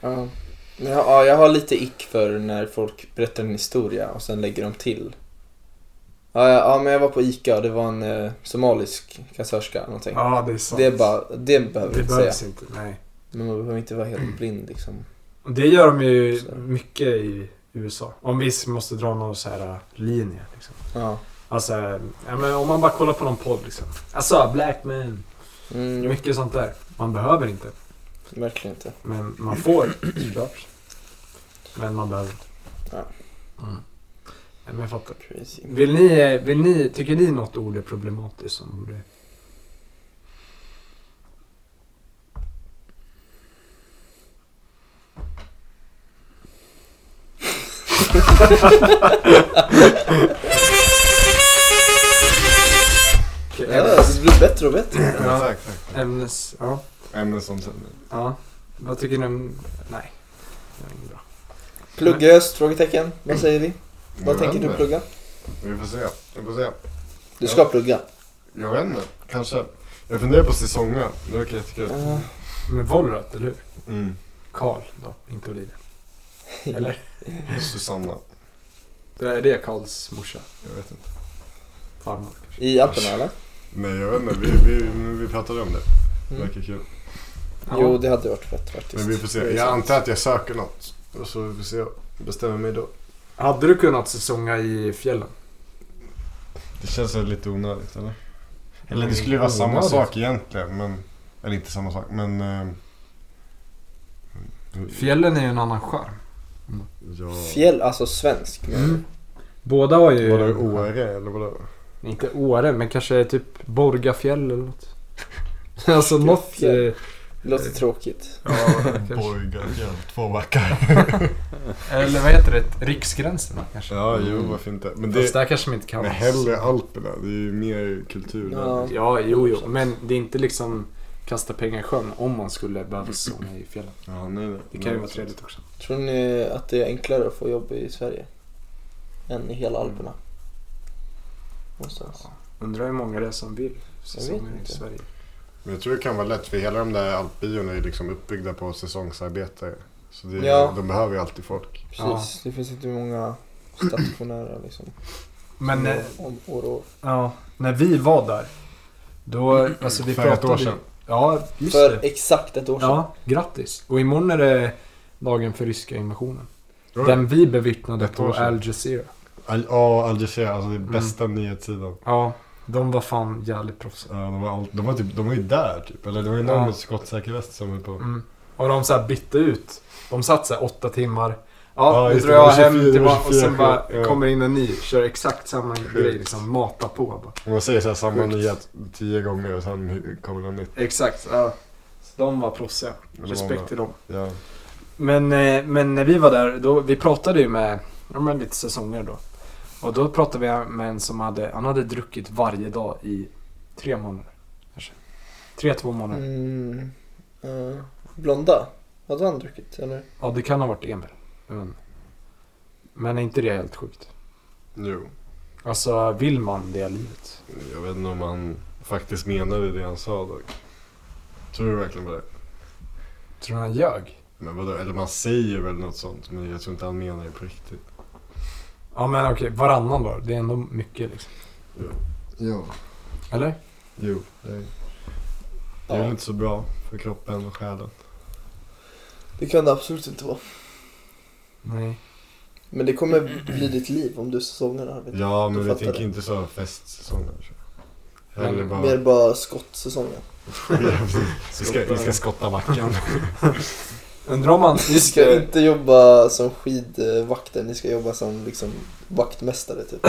Speaker 1: Ja. Men jag, ja, jag har lite ick för när folk berättar en historia och sen lägger de till. Ja, ja, ja men jag var på ICA och det var en eh, somalisk kassörska eller någonting.
Speaker 4: Ja, det är sant.
Speaker 1: det är bara, det behöver
Speaker 4: Det
Speaker 1: vi inte säga.
Speaker 4: behövs inte, nej.
Speaker 1: Men man behöver inte vara helt blind liksom.
Speaker 4: Och det gör de ju
Speaker 1: Så.
Speaker 4: mycket i USA. Om vi måste dra någon så här äh, linje liksom.
Speaker 1: Ja.
Speaker 4: Alltså, äh, ja, men om man bara kollar på någon podd liksom. Alltså, black man.
Speaker 1: Mm, jo,
Speaker 4: Mycket sånt där. Man behöver inte.
Speaker 1: verkligen inte.
Speaker 4: Men man får såklart. Men man behöver inte.
Speaker 1: Ja.
Speaker 4: Mm. Nej, Men jag fattar.
Speaker 1: Crazy.
Speaker 4: Vill ni, eh, vill ni, tycker ni något ord är problematiskt som borde... Okej,
Speaker 1: Ja, alltså, det blir bättre och bättre.
Speaker 4: Ja.
Speaker 5: Exakt. exakt.
Speaker 4: Ämnes... Ja.
Speaker 5: Ämnen som sen.
Speaker 4: Ja. Vad tycker ni om... Nej. Det var inget bra.
Speaker 1: Plugga i öst? Frågetecken. Vad säger vi? Vad
Speaker 5: Jag
Speaker 1: tänker
Speaker 5: vet
Speaker 1: du
Speaker 5: inte.
Speaker 1: plugga?
Speaker 5: Vi får se. Vi får se.
Speaker 1: Du ska plugga.
Speaker 5: Jag vet inte. Kanske. Jag funderar på säsonga. Det verkar jättekul.
Speaker 1: Ja.
Speaker 4: Men Wollrat, eller hur?
Speaker 5: Mm.
Speaker 4: Karl då, inte Olivia. Eller?
Speaker 5: Susanna.
Speaker 4: Det är det Karls morsa?
Speaker 5: Jag vet inte.
Speaker 4: Farmor kanske?
Speaker 1: I Alperna eller?
Speaker 5: Nej jag vet inte. Vi, vi, vi pratade om det. Det
Speaker 1: Mm.
Speaker 5: verkar kul.
Speaker 1: Jo, det hade varit fett faktiskt.
Speaker 5: Men vi får se. Jag antar att jag söker något. Och så vi får se. Bestämmer mig då.
Speaker 4: Hade du kunnat säsonga i fjällen?
Speaker 5: Det känns väl lite onödigt eller? Eller
Speaker 4: Mm,
Speaker 5: det skulle ju vara samma
Speaker 4: onödigt.
Speaker 5: sak egentligen men... Eller inte samma sak men... ehm,
Speaker 4: Fjällen är ju en annan charm.
Speaker 5: Ja...
Speaker 1: Fjäll, alltså svensk. men-
Speaker 5: Mm.
Speaker 4: Mm. Båda har ju...
Speaker 5: Var det Åre eller vadå?
Speaker 4: Inte Åre, men kanske typ Borgafjäll eller något. alltså något... Eh,
Speaker 1: Det låter tråkigt.
Speaker 4: ja, kanske.
Speaker 5: Borgafjäll, två backar.
Speaker 4: Eller vad heter det? Riksgränserna kanske?
Speaker 5: Ja, jo varför inte. Men
Speaker 4: Fast
Speaker 5: det...
Speaker 4: där kanske man inte kan.
Speaker 5: Men hellre Alperna, det är ju mer kultur
Speaker 1: Ja.
Speaker 5: där.
Speaker 4: Ja, jo, jo. Men det är inte liksom kasta pengar i sjön om man skulle behöva säsonga i fjällen.
Speaker 5: Ja, nej, nej.
Speaker 4: Det kan ju vara trevligt också.
Speaker 1: Tror ni att det är enklare att få jobb i Sverige? Än i hela Alperna? Någonstans.
Speaker 4: Undrar hur många det är som vill
Speaker 1: vet
Speaker 4: säsongen i
Speaker 1: inte.
Speaker 4: Sverige.
Speaker 5: Men jag tror det kan vara lätt för hela de där alpbyarna är ju liksom uppbyggda på säsongsarbetare. Så det,
Speaker 1: Ja.
Speaker 5: de behöver ju alltid folk.
Speaker 1: Precis, det finns inte många stationära liksom.
Speaker 4: Men eh,
Speaker 1: som om år och år.
Speaker 4: ja, när vi var där. Då, alltså vi
Speaker 5: Mm. För
Speaker 4: pratade
Speaker 5: ett år sedan.
Speaker 4: Ja, just
Speaker 1: För
Speaker 4: det.
Speaker 1: exakt ett år sedan.
Speaker 4: Ja, grattis. Och imorgon är det dagen för ryska invasionen.
Speaker 5: Ja.
Speaker 4: Den vi bevittnade
Speaker 5: Ett
Speaker 4: på
Speaker 5: år sedan.
Speaker 4: Al Jazeera.
Speaker 5: Al- Ja, Al Jazeera, alltså det är
Speaker 4: Mm.
Speaker 5: bästa nyhetssidan.
Speaker 4: Ja, de var fan jävligt proffsiga.
Speaker 5: Ja, de, var all, de, var typ, de var ju där typ, eller det var ju någon
Speaker 4: Ja.
Speaker 5: med skottsäker väst som höll på.
Speaker 4: Mm. Och de så här bytte ut. De satt så här åtta timmar.
Speaker 5: Ja,
Speaker 4: Ja, nu
Speaker 5: just
Speaker 4: drar
Speaker 5: det, det
Speaker 4: jag
Speaker 5: var
Speaker 4: hem
Speaker 5: 24,
Speaker 4: till
Speaker 5: det var
Speaker 4: ma- och sen
Speaker 5: 24,
Speaker 4: bara
Speaker 5: ja.
Speaker 4: kommer in en ny. Kör exakt samma grej
Speaker 5: Sjukt.
Speaker 4: liksom. Mata på bara.
Speaker 5: Och man säger så här samma
Speaker 4: Sjukt.
Speaker 5: nyhet tio gånger och sen kommer något nytt.
Speaker 4: Exakt, ja. Så de var proffsiga.
Speaker 5: Men det var
Speaker 4: Respekt
Speaker 5: bra.
Speaker 4: till dem.
Speaker 5: Ja.
Speaker 4: Men, eh, men när vi var där, då, vi pratade ju med, ja, men lite säsonger då. Och då pratade vi med en som hade, han hade druckit varje dag i tre månader. Kanske. Tre, två månader.
Speaker 1: Mm, eh, blonda? Hade han druckit eller?
Speaker 4: Ja, det kan ha varit Emil. Men, men är inte det helt sjukt?
Speaker 5: Jo,
Speaker 4: Alltså, vill man det livet?
Speaker 5: jag vet inte om han faktiskt menade det han sa dock. Tror du verkligen på det?
Speaker 4: Tror du han ljög?
Speaker 5: Men vadå, eller man säger väl något sånt, men jag tror inte han menar det på riktigt.
Speaker 4: Ja, men okej, varannan då. Det är ändå mycket liksom.
Speaker 5: Ja.
Speaker 4: Eller?
Speaker 5: Jo, det är, det är väl inte så bra för kroppen och själen.
Speaker 1: Det kan det absolut inte vara.
Speaker 4: Nej.
Speaker 1: Men det kommer bli ditt liv om du säsongar Arvid.
Speaker 5: Ja, men
Speaker 1: du
Speaker 5: vi
Speaker 1: fattar
Speaker 5: tänker
Speaker 1: det.
Speaker 5: inte så festsäsonger. tror jag. Hellre
Speaker 4: Men
Speaker 5: bara...
Speaker 1: Mer bara skottsäsongen.
Speaker 5: vi, ska, vi ska skotta backen.
Speaker 4: Undrar om han...
Speaker 1: Ni ska inte jobba som skidvakter, ni ska jobba som liksom vaktmästare typ.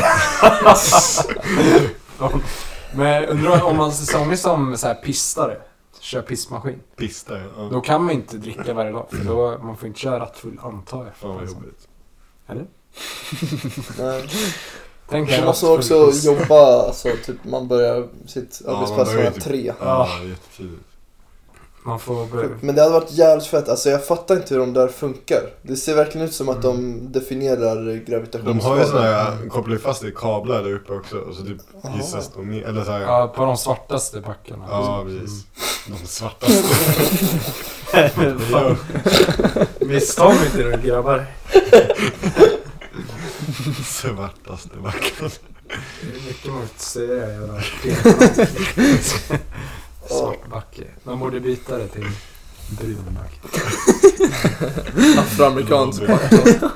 Speaker 4: Men undrar om man säsonger som så här pistare, kör pissmaskin.
Speaker 5: Pista, ja.
Speaker 4: Då kan man inte dricka varje dag, för då, man får inte köra rattfull antar jag.
Speaker 5: Fan vad jobbigt.
Speaker 1: Nej.
Speaker 4: Tänk
Speaker 1: Man
Speaker 4: er
Speaker 1: måste
Speaker 4: rattfull
Speaker 1: alltså också
Speaker 4: piss.
Speaker 1: jobba, alltså typ man börjar sitt
Speaker 5: Ja, man
Speaker 1: arbetspass
Speaker 5: börjar
Speaker 1: klockan
Speaker 5: typ-
Speaker 1: tre.
Speaker 5: Ja, jättetidigt.
Speaker 4: Man får börja...
Speaker 1: Men det hade varit jävligt fett, alltså jag fattar inte hur de där funkar. Det ser verkligen ut som att de definierar
Speaker 5: Mm. De har ju sådana
Speaker 1: gravitationsskalan.
Speaker 5: här, kopplar ju fast i kablar där uppe också och så typ
Speaker 1: Jaha.
Speaker 5: hissas de ner. Eller såhär, ja.
Speaker 4: Ja, på de svartaste backarna.
Speaker 5: ja precis. De svartaste.
Speaker 4: Fan. Mm. Missta mig inte nu grabbar.
Speaker 5: svartaste backen.
Speaker 4: Det är mycket man inte säga det jävla Svart backe. Man borde byta det till brun backe.
Speaker 1: Afroamerikansk
Speaker 5: Det var
Speaker 1: faktor.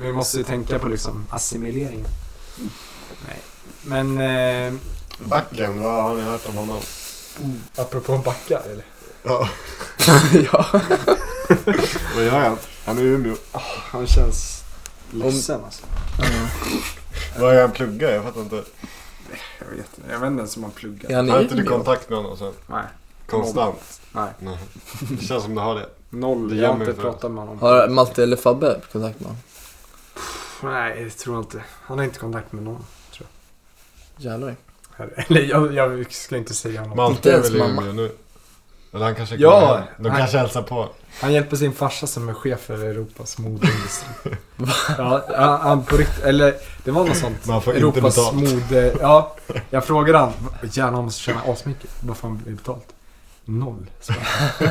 Speaker 4: Vi måste ju tänka på liksom assimileringen. Nej. Men... Eh,
Speaker 5: Backen, vad har ni hört om honom?
Speaker 4: Apropå backar eller?
Speaker 5: Ja. Vad gör han? Han är i Umeå.
Speaker 4: Han känns ledsen alltså.
Speaker 5: Vad är han pluggar? Jag fattar inte.
Speaker 4: Jag vet inte, jag vet inte ens om han pluggar.
Speaker 1: Är han
Speaker 5: Har
Speaker 1: i
Speaker 5: inte du
Speaker 1: Umeå?
Speaker 5: kontakt med honom sen?
Speaker 4: Nej.
Speaker 5: Konstant?
Speaker 4: Nej.
Speaker 5: Det känns som du har det.
Speaker 4: Noll,
Speaker 5: Det
Speaker 4: jag
Speaker 5: gör
Speaker 4: har
Speaker 5: mig
Speaker 4: inte
Speaker 5: för-
Speaker 4: pratat med honom.
Speaker 1: Har Malte eller Fabbe kontakt med honom?
Speaker 4: Nej, det tror jag inte. Han har inte kontakt med någon.
Speaker 1: Jävlar.
Speaker 4: Eller jag, jag skulle inte säga något.
Speaker 5: Malte är
Speaker 1: ens
Speaker 5: väl i
Speaker 1: mamma.
Speaker 5: Umeå nu? Eller han kanske
Speaker 4: Ja,
Speaker 5: kommer hem. De
Speaker 4: han-
Speaker 5: kanske hälsar på.
Speaker 4: Han hjälper sin farsa som är chef för Europas modeindustri. ja, han, han på riktigt, eller det var något sånt.
Speaker 5: Man får inte
Speaker 4: Europas
Speaker 5: betalt.
Speaker 4: mode... Ja, jag frågade han. Gärna han måste tjäna asmycket. Vad fan blir det betalt? Noll. sa han.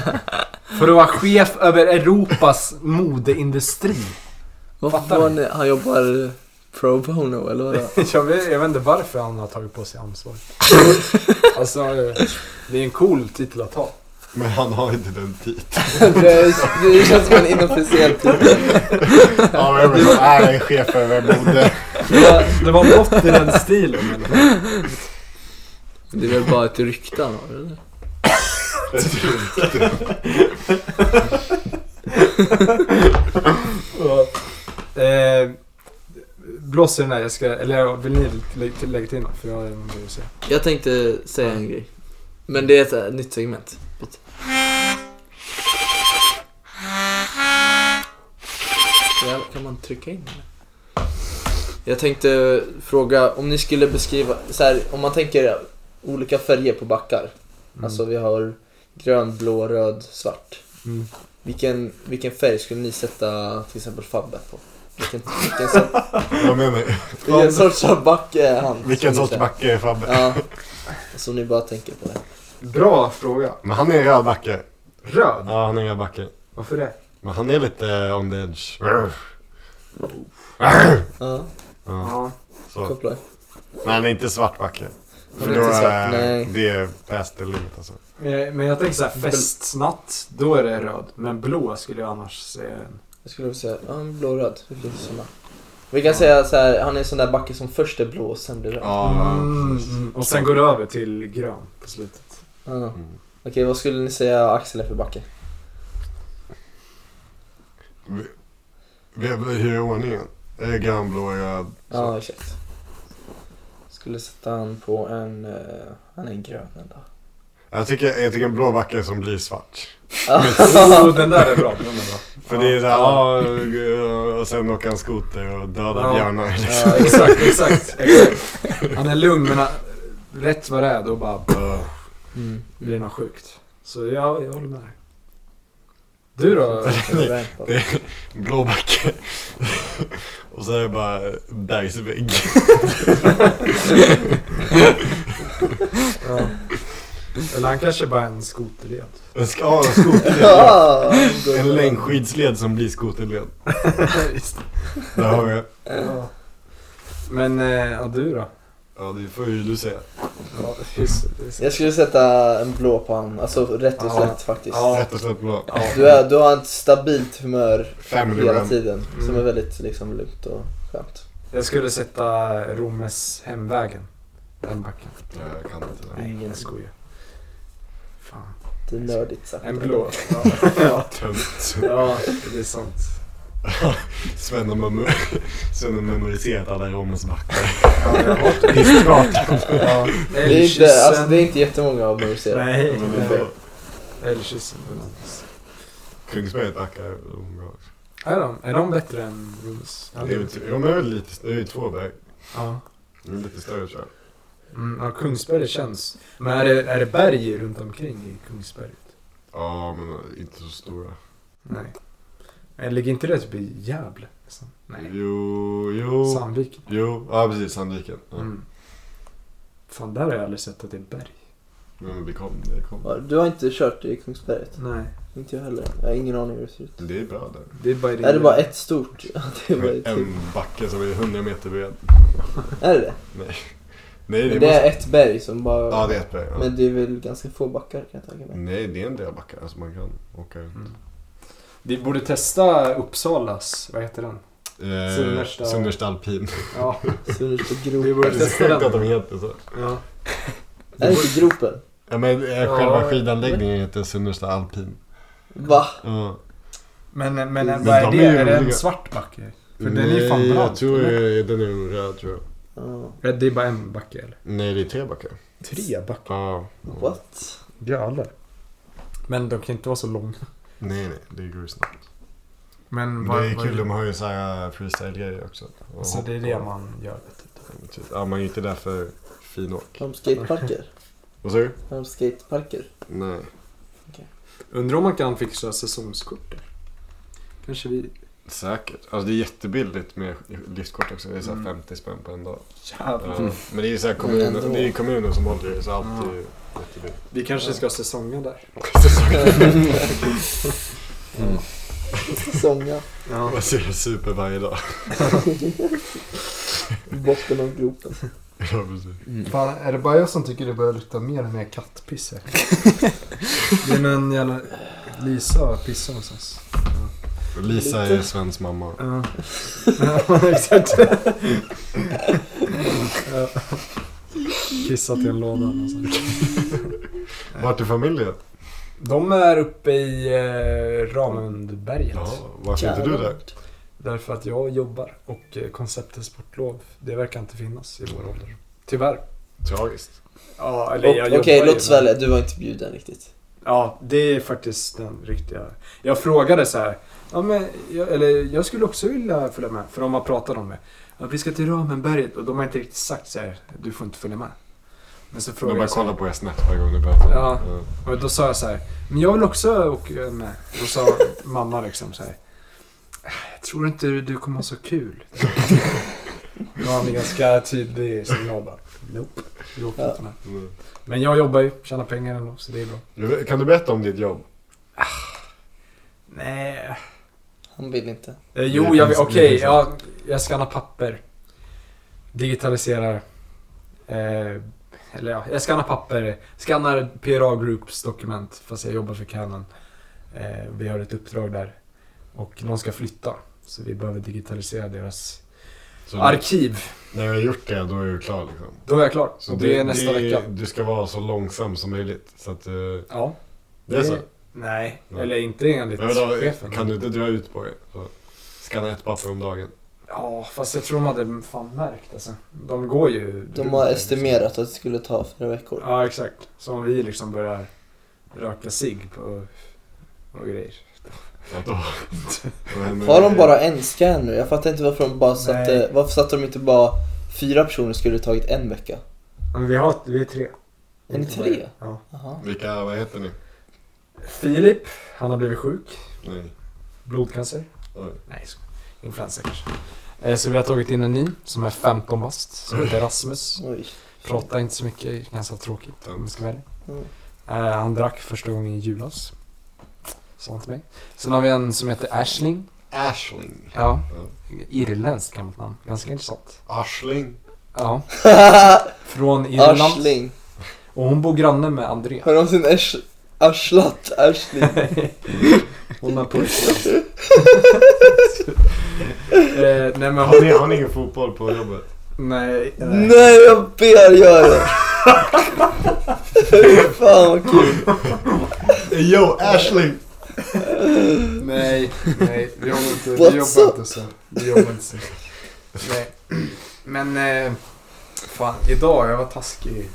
Speaker 4: För att vara chef över Europas modeindustri.
Speaker 1: Varför
Speaker 4: Fattar
Speaker 1: var
Speaker 4: ni?
Speaker 1: ni- han jobbar pro bono eller vadå?
Speaker 4: Jag vet, jag vet inte varför han har tagit på sig ansvar. alltså, det är en cool titel att ha.
Speaker 5: Men han har inte den titeln.
Speaker 1: det, det känns som en inofficiell titel.
Speaker 5: Ja, men jag menar, är han chef över mode?
Speaker 4: Det var, det var något i den stilen. eller?
Speaker 1: Det är väl bara ett rykte han har eller?
Speaker 4: Eh, blås i den här, jag ska, eller ja, vill ni lä- till- lägga till något? För jag har en grej att säga.
Speaker 1: Jag tänkte säga en grej. Men det är ett äh, nytt segment. Ja, kan man trycka in det? Jag tänkte fråga om ni skulle beskriva, så här, om man tänker olika färger på backar. Alltså vi har grön, blå, röd, svart.
Speaker 4: Mm.
Speaker 1: Vilken, vilken färg skulle ni sätta till exempel Fabbe på? Vilken, vilken, sort,
Speaker 5: Vad menar du?
Speaker 1: vilken sorts av backe är han?
Speaker 5: Vilken
Speaker 1: Som ni
Speaker 5: sorts
Speaker 1: säger.
Speaker 5: backe är Fabbe?
Speaker 1: Ja, så ni bara tänker på det.
Speaker 4: Bra fråga.
Speaker 5: Men han är en röd backe.
Speaker 4: Röd?
Speaker 5: Ja, han är en röd backe.
Speaker 4: Varför det?
Speaker 5: Men han är lite eh, on the edge.
Speaker 1: Ja,
Speaker 5: Ja,
Speaker 4: Ja.
Speaker 5: så.
Speaker 1: koppla.
Speaker 5: Men han är inte svart backe.
Speaker 1: Han
Speaker 5: För
Speaker 1: är
Speaker 5: då
Speaker 1: inte svart,
Speaker 5: är
Speaker 1: nej.
Speaker 5: det är past the limit alltså.
Speaker 4: Men jag, Eh, men jag tänker såhär, festnatt, då är det röd. Men blå skulle jag annars säga. en-
Speaker 1: Jag skulle vilja säga, ja, men blå-röd. Det finns såna. Vi kan säga så här, han är en sån där backe som först är blå och sen blir röd.
Speaker 5: Ja,
Speaker 4: Mm, mm. Och sen går det över till grön på slutet.
Speaker 1: Ja. Okej, vad skulle ni säga Axel är för backe?
Speaker 5: Vi vi- hur är ordningen? Är det grön, blå, röd?
Speaker 1: Ja, exakt. Skulle sätta han på en... eh, han är en grön ändå.
Speaker 5: Jag tycker, jag tycker en blå macka är som blir svart.
Speaker 4: Jo, Oh, den där är bra. Den är bra.
Speaker 5: För det är såhär, ja, och sen åker han skoter och dödar
Speaker 4: Ja.
Speaker 5: björnar. liksom.
Speaker 4: Ja, exakt, exakt, exakt. Han är lugn men han- rätt vad det är då bara
Speaker 1: Mm.
Speaker 4: blir det något sjukt. Så ja, jag håller med dig. Du då?
Speaker 5: Det är en blå backe. Och så är det bara bergsvägg.
Speaker 4: Ja. Eller han kanske bara är en skoterled.
Speaker 5: En sk- ja, en skoterled.
Speaker 1: Ah,
Speaker 5: En längdskidsled som blir skoterled. Där har vi det.
Speaker 4: Ja. Men eh, ja, du då?
Speaker 5: Ja, det får ju du säga.
Speaker 4: Ja, just, det, just. det.
Speaker 1: Jag skulle sätta en blå på honom, alltså rätt och
Speaker 4: Ja.
Speaker 1: slätt faktiskt.
Speaker 4: Ja.
Speaker 5: Rätt och slätt blå.
Speaker 1: Du, är, du har ett stabilt humör
Speaker 5: Family
Speaker 1: hela
Speaker 5: man.
Speaker 1: tiden som
Speaker 5: Mm.
Speaker 1: är väldigt liksom lugnt och skönt.
Speaker 4: Jag skulle sätta Romes hemvägen. Den backen.
Speaker 5: Ja, Jag kan inte det.
Speaker 4: Nej, ingen skojar. Fan.
Speaker 1: Det är nördigt sagt.
Speaker 4: En blå. Ja, ja.
Speaker 5: Tönt.
Speaker 4: ja det är sant.
Speaker 5: Sven har memor- Sven har memoriserat alla Romens backar.
Speaker 4: Ja, jag har
Speaker 5: Diskkartan.
Speaker 4: Ja,
Speaker 1: Det är, inte, alltså, det är inte jättemånga av dem vi ser.
Speaker 4: Nej,
Speaker 5: Men ändå,
Speaker 4: Älgkyssen.
Speaker 5: Kungsberget backar är de bra.
Speaker 4: Är de, är de bättre än Rooms?
Speaker 5: Det är väl typ- De är väl lite, det är ju två berg.
Speaker 4: Ja.
Speaker 5: De är lite större tror jag.
Speaker 4: Mm, ja, Kungsberg det känns. Men är det, är det berg runt omkring i Kungsberget?
Speaker 5: Ja, men inte så stora.
Speaker 4: Nej. Eller ligger inte det typ i Gävle? nästan? Nej.
Speaker 5: Jo, jo.
Speaker 4: Sandviken?
Speaker 5: Jo, ja precis, Sandviken. Ja.
Speaker 4: Mm. Fan, där har jag aldrig sett att det är berg.
Speaker 5: Men vi kom, det kom.
Speaker 1: Ja, Du har inte kört i Kungsberget?
Speaker 4: Nej.
Speaker 1: Inte jag heller. Jag har ingen aning hur det ser ut.
Speaker 5: Det är bra där.
Speaker 4: Det är bara
Speaker 1: Är det bara ett stort? Ja, det är, bara ett typ.
Speaker 5: En backe som är 100 meter bred.
Speaker 1: är det det?
Speaker 5: Nej, det
Speaker 1: Men
Speaker 5: är,
Speaker 1: det
Speaker 5: massa...
Speaker 1: är ett berg som bara...
Speaker 5: Ja, det Mm. är ett berg. Ja.
Speaker 1: Men det är väl ganska få backar kan jag tänka mig.
Speaker 5: Nej, det är en del backar som man kan åka ut.
Speaker 4: Mm. Vi borde testa Uppsalas, vad heter den?
Speaker 5: Eh,
Speaker 4: Sunnersta-
Speaker 5: Sunnersta alpin.
Speaker 4: Ja.
Speaker 1: Ser ut på
Speaker 5: Det
Speaker 1: gropen.
Speaker 5: var ju så
Speaker 4: testa
Speaker 5: sjukt
Speaker 4: den.
Speaker 5: att de heter så.
Speaker 4: ja.
Speaker 1: Är det inte gropen?
Speaker 5: Ja, men eh,
Speaker 4: Ja.
Speaker 5: själva skidanläggningen heter Sunnersta alpin.
Speaker 1: Va?
Speaker 5: Ja.
Speaker 4: Men, men,
Speaker 5: Men
Speaker 4: vad är
Speaker 5: de
Speaker 4: det?
Speaker 5: är ju
Speaker 4: Är det en
Speaker 5: roliga.
Speaker 4: svart backe? För den är ju
Speaker 5: Nej,
Speaker 4: fan brant,
Speaker 5: jag tror
Speaker 4: eller?
Speaker 5: eh, den är röd tror jag.
Speaker 1: Ja.
Speaker 4: Ja, Eh, det är bara en backe eller?
Speaker 5: Nej, det är tre backar.
Speaker 4: Tre backar?
Speaker 5: Ja.
Speaker 1: What?
Speaker 4: Jävlar. Men de kan inte vara så långa.
Speaker 5: Nej, nej, det går ju snabbt.
Speaker 4: Men
Speaker 5: Men
Speaker 4: vad,
Speaker 5: det är
Speaker 4: vad
Speaker 5: kul, de har ju så här eh, freestyle-grejer också. Och
Speaker 4: Så det är
Speaker 5: hoppa.
Speaker 4: det man gör.
Speaker 5: Typ. Ja, man är ju inte där för finåk.
Speaker 1: Har de skateparker?
Speaker 5: Vad säger du?
Speaker 1: Har de skateparker?
Speaker 5: Nej.
Speaker 4: Undrar om man kan fixa säsongskort där? Kanske vi...
Speaker 5: Säkert. Alltså det är jättebilligt med liftkort också. Det är så här
Speaker 4: Mm.
Speaker 5: 50 spänn på en dag.
Speaker 4: Jävlar.
Speaker 5: Ja, Men det är ju så här
Speaker 1: Men ändå.
Speaker 5: kommunen, det är ju kommunen som håller det så allt är ju jättebilligt.
Speaker 4: Vi kanske ska ha säsonger där.
Speaker 1: Säsonga.
Speaker 4: Ja.
Speaker 5: Man ser super varje dag.
Speaker 1: Botten av gropen.
Speaker 5: Ja precis.
Speaker 4: Fan, är det bara jag som tycker det börjar lukta mer och mer kattpiss här? det är någon jävla... Lisa pissar hos oss.
Speaker 5: Och Lisa är Svens mamma.
Speaker 4: Ja. ja, exakt. ja. Kissat i en låda någonstans.
Speaker 5: Vart är familjen?
Speaker 4: De är uppe i eh, Ramundberget.
Speaker 5: Ja, varför är inte du där?
Speaker 4: Därför att jag jobbar och eh, konceptet sportlov, det verkar inte finnas i vår ålder. Tyvärr.
Speaker 5: Tragiskt.
Speaker 4: Ja, eller jag
Speaker 1: Och-
Speaker 4: jobbar
Speaker 1: Okej,
Speaker 4: ju,
Speaker 1: låt
Speaker 4: men-
Speaker 1: oss välja. Du var inte bjuden riktigt.
Speaker 4: Ja, det är faktiskt den riktiga. Jag frågade så här. Ja, men jag, eller jag skulle också vilja följa med, för de har pratat om det. Ja, vi ska till Ramenberget och de har inte riktigt sagt så här. Du får inte följa med. Men så
Speaker 5: De
Speaker 4: frågade
Speaker 5: bara
Speaker 4: jag så här,
Speaker 5: kollar på er snett varje gång du pratar.
Speaker 4: Ja. Och då sa jag så här, men jag vill också åka med. Då sa mamma liksom så här, jag tror inte du kommer ha så kul. Det var en ganska tydlig signal bara, nope, du åker inte med.
Speaker 5: Mm.
Speaker 4: Men jag jobbar ju, tjänar pengar ändå, så det är bra.
Speaker 5: Mm. Kan du berätta om ditt jobb?
Speaker 4: Nej.
Speaker 1: Han vill inte.
Speaker 4: Eh, jo,
Speaker 5: Det
Speaker 4: jag,
Speaker 5: finns-
Speaker 4: okej,
Speaker 5: det finns
Speaker 4: jag, jag skannar papper. Digitaliserar. Eh, eller ja, jag skannar papper. Skannar PRA Groups dokument fast jag jobbar för Canon. Eh, vi har ett uppdrag där. Och de ska flytta. Så vi behöver digitalisera deras
Speaker 5: Så
Speaker 4: arkiv.
Speaker 5: när jag har gjort det, då är du klar liksom.
Speaker 4: Då är jag klar.
Speaker 5: Så
Speaker 4: och det, är nästa vecka.
Speaker 5: Du ska vara så långsam som möjligt. Så att, eh,
Speaker 4: Ja.
Speaker 5: det är så.
Speaker 4: Nej,
Speaker 5: Ja.
Speaker 4: eller inte enligt
Speaker 5: Men vadå,
Speaker 4: chefen.
Speaker 5: kan du inte dra ut på det? Så Skanna ett papper om dagen.
Speaker 4: Ja, fast jag tror de hade fan märkt alltså. De går ju...
Speaker 1: De har estimerat att det skulle ta fyra veckor.
Speaker 4: Ja, exakt. Så om vi liksom börjar röka cigg på och grejer.
Speaker 1: Har de bara en scanner? Jag fattar inte varför de bara satte...
Speaker 4: Nej.
Speaker 1: Varför satte de inte bara fyra personer skulle det tagit en vecka?
Speaker 4: Men vi, har, vi är tre.
Speaker 1: Är ni tre?
Speaker 4: Ja.
Speaker 1: Jaha.
Speaker 5: Vilka, vad heter ni?
Speaker 4: Filip, han har blivit sjuk.
Speaker 5: Nej.
Speaker 4: Blodcancer.
Speaker 5: Oj.
Speaker 4: Nej, så. influensa kanske. Eh, Så vi har tagit in en ny som är 15 bast, som heter Rasmus.
Speaker 1: Oj.
Speaker 4: Pratar inte så mycket, ganska tråkigt om jag ska vara ärlig.
Speaker 1: Mm.
Speaker 4: Eh, Han drack första gången i julas. Sa han till mig. Sen har vi en som heter Ashling.
Speaker 5: Ashling.
Speaker 4: Ja. Irländskt gammalt namn, ganska intressant.
Speaker 5: Ashling?
Speaker 4: Ja. Från Irland.
Speaker 1: Arsling.
Speaker 4: Och hon bor granne med André.
Speaker 1: Har du någonsin ers- arslat Arsling?
Speaker 4: Hon har pussat. eh, nej men
Speaker 5: Har
Speaker 4: hon...
Speaker 5: ni, har ni ingen fotboll på jobbet?
Speaker 4: Nej. eh,
Speaker 1: Nej, jag ber gör det! Fan vad kul!
Speaker 5: Yo, Ashling!
Speaker 4: Nej, nej. Vi jobbar inte,
Speaker 1: What's
Speaker 4: vi jobbar
Speaker 1: up?
Speaker 4: inte så. Vi jobbar inte så. Nej. Men, eh, fan. Idag, jag var taskig.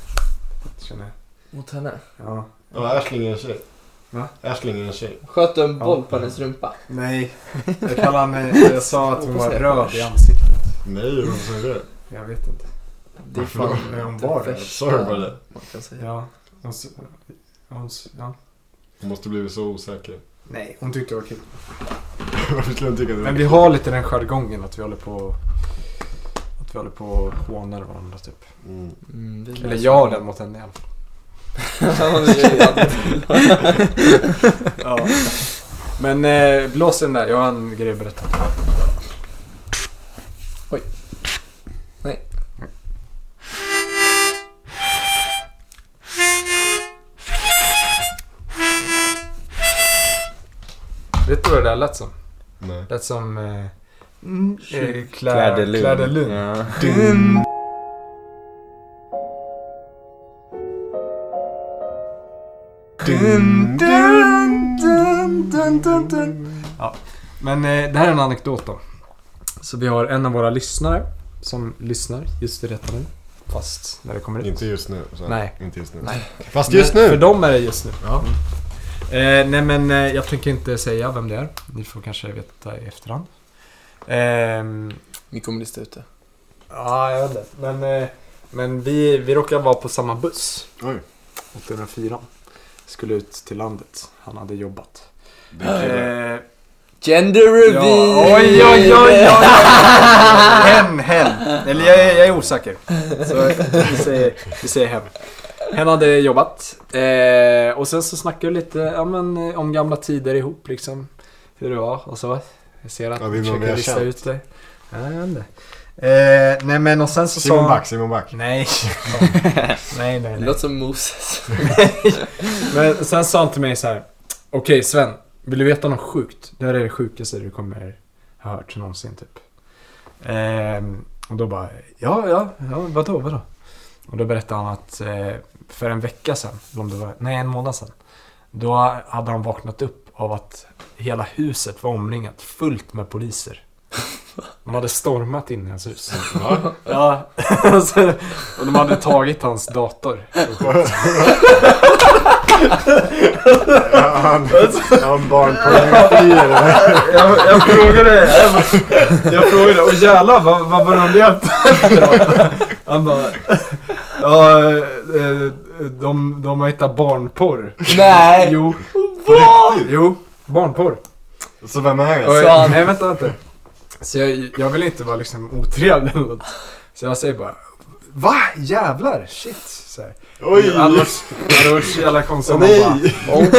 Speaker 4: Känner jag.
Speaker 1: Mot henne.
Speaker 4: Ja.
Speaker 5: Ja, Ashling är en tjej.
Speaker 4: Va?
Speaker 5: Ashling är en tjej.
Speaker 1: Sköt du en boll på hennes rumpa?
Speaker 4: Nej. Jag kallade henne, jag sa att hon var röd i ansiktet.
Speaker 5: Nej, hon sa det.
Speaker 4: Jag vet inte.
Speaker 1: Det är fan
Speaker 4: Är hon var det?
Speaker 5: Sorry brother.
Speaker 1: man kan säga.
Speaker 4: Ja. Hon, s- hon, s- ja.
Speaker 5: Hon måste blivit så osäker.
Speaker 4: Nej, hon tyckte det var kul.
Speaker 5: Varför skulle hon tycka det? var
Speaker 4: Men vi
Speaker 5: kul?
Speaker 4: har lite den jargongen att vi håller på att vi håller på och hånar varandra typ.
Speaker 5: Mm.
Speaker 1: Mm, det är
Speaker 4: Eller
Speaker 1: nice.
Speaker 4: jag har den mot henne i alla fall.
Speaker 1: Ja, det gör jag.
Speaker 4: Ja. Men eh, blås den där, jag har en grej att berätta.
Speaker 1: Oj. Nej.
Speaker 4: Vet du vad det där lät som?
Speaker 5: Nej.
Speaker 4: Lät som... Eh,
Speaker 1: Mm.
Speaker 4: eh,
Speaker 7: Kläderlund.
Speaker 4: Kläderlund.
Speaker 7: Ja.
Speaker 4: Men eh, det här är en anekdot då. Så vi har en av våra lyssnare som lyssnar just i detta nu. Fast när det kommer ut.
Speaker 5: Inte just nu. Så.
Speaker 4: Nej.
Speaker 5: Inte just nu.
Speaker 4: Nej.
Speaker 5: Fast just
Speaker 4: Men För
Speaker 5: nu!
Speaker 4: dem är det just nu. Mm.
Speaker 5: Ja.
Speaker 4: Eh, nej men eh, jag tänker inte säga vem det är. Ni får kanske veta i efterhand. Ehm,
Speaker 1: Vi kommer lista ut det.
Speaker 4: Ja, jag vet inte. Men, eh, men vi, vi råkar vara på samma buss.
Speaker 5: Oj.
Speaker 4: 804. Skulle ut till landet. Han hade jobbat.
Speaker 5: Det är
Speaker 4: Eh,
Speaker 5: kul.
Speaker 1: Eh, Gender reveal!
Speaker 4: Ja, oj, oj, oj, oj! Hen, hen. Eller jag, är- jag är osäker. Så vi säger, vi säger hem. Hen hade jobbat. Eh, och sen så snackade vi lite ja, men, eh, om gamla tider ihop liksom. Hur det var och så. Jag ser att
Speaker 5: Ja, det
Speaker 4: du
Speaker 5: är någon vi
Speaker 4: försöker
Speaker 5: har
Speaker 4: lista
Speaker 5: känt.
Speaker 4: ut det. Ja, jag vet inte. Eh, nej men och sen så sa
Speaker 5: Simon
Speaker 4: han...
Speaker 5: Back, Simon Back.
Speaker 4: Nej. nej, nej,
Speaker 1: Det
Speaker 4: nej.
Speaker 1: låter som Moses.
Speaker 4: Men sen sa han till mig så här. Okej Sven, vill du veta något sjukt? Det här är det sjukaste du kommer ha hört någonsin typ. Ehm, och då bara, ja, ja, ja, vadå, vadå? Och då berättade han att eh, för en vecka sedan, eller om det var, nej en månad sedan. Då hade han vaknat upp av att hela huset var omringat fullt med poliser. De hade stormat in i hans hus. Ja, alltså, och de hade tagit hans dator.
Speaker 5: Ja, han, han barnpornografi eller?
Speaker 4: jag, jag frågade jag, bara- jag frågade och jävlar vad, vad var de hjälpt Han bara Ja, eh, de, de har hittat barnporr.
Speaker 1: Nej!
Speaker 4: Jo, jo, barnporr.
Speaker 5: Så vem är
Speaker 4: Och
Speaker 5: jag?
Speaker 1: Så han-
Speaker 4: jag, nej vänta, vänta. Så jag, jag vill inte vara liksom otrevlig eller något. Så jag säger bara Va? Jävlar? Shit. Så här.
Speaker 5: Oj!
Speaker 4: Annars hade det varit så jävla konstigt om man
Speaker 5: Nej.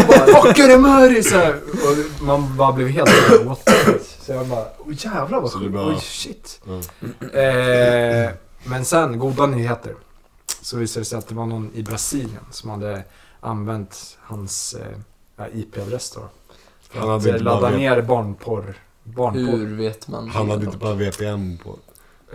Speaker 4: bara Fuck är det med dig? Så här. Och man bara blev helt såhär, what the fuck? Så jag bara, oh, jävlar vad
Speaker 5: Så du
Speaker 4: sjukt,
Speaker 5: bara-
Speaker 4: oj shit.
Speaker 5: Mm.
Speaker 4: Eh, men sen, goda nyheter. Så visade det sig att det var någon i Brasilien som hade använt hans eh, ja, IP-adress då. För
Speaker 5: Han
Speaker 4: att
Speaker 5: hade
Speaker 4: eh,
Speaker 5: inte bara
Speaker 4: ladda
Speaker 5: vet-
Speaker 4: ner barnporr. Barnporr.
Speaker 1: Hur vet man?
Speaker 5: Han hade inte bara VPN på.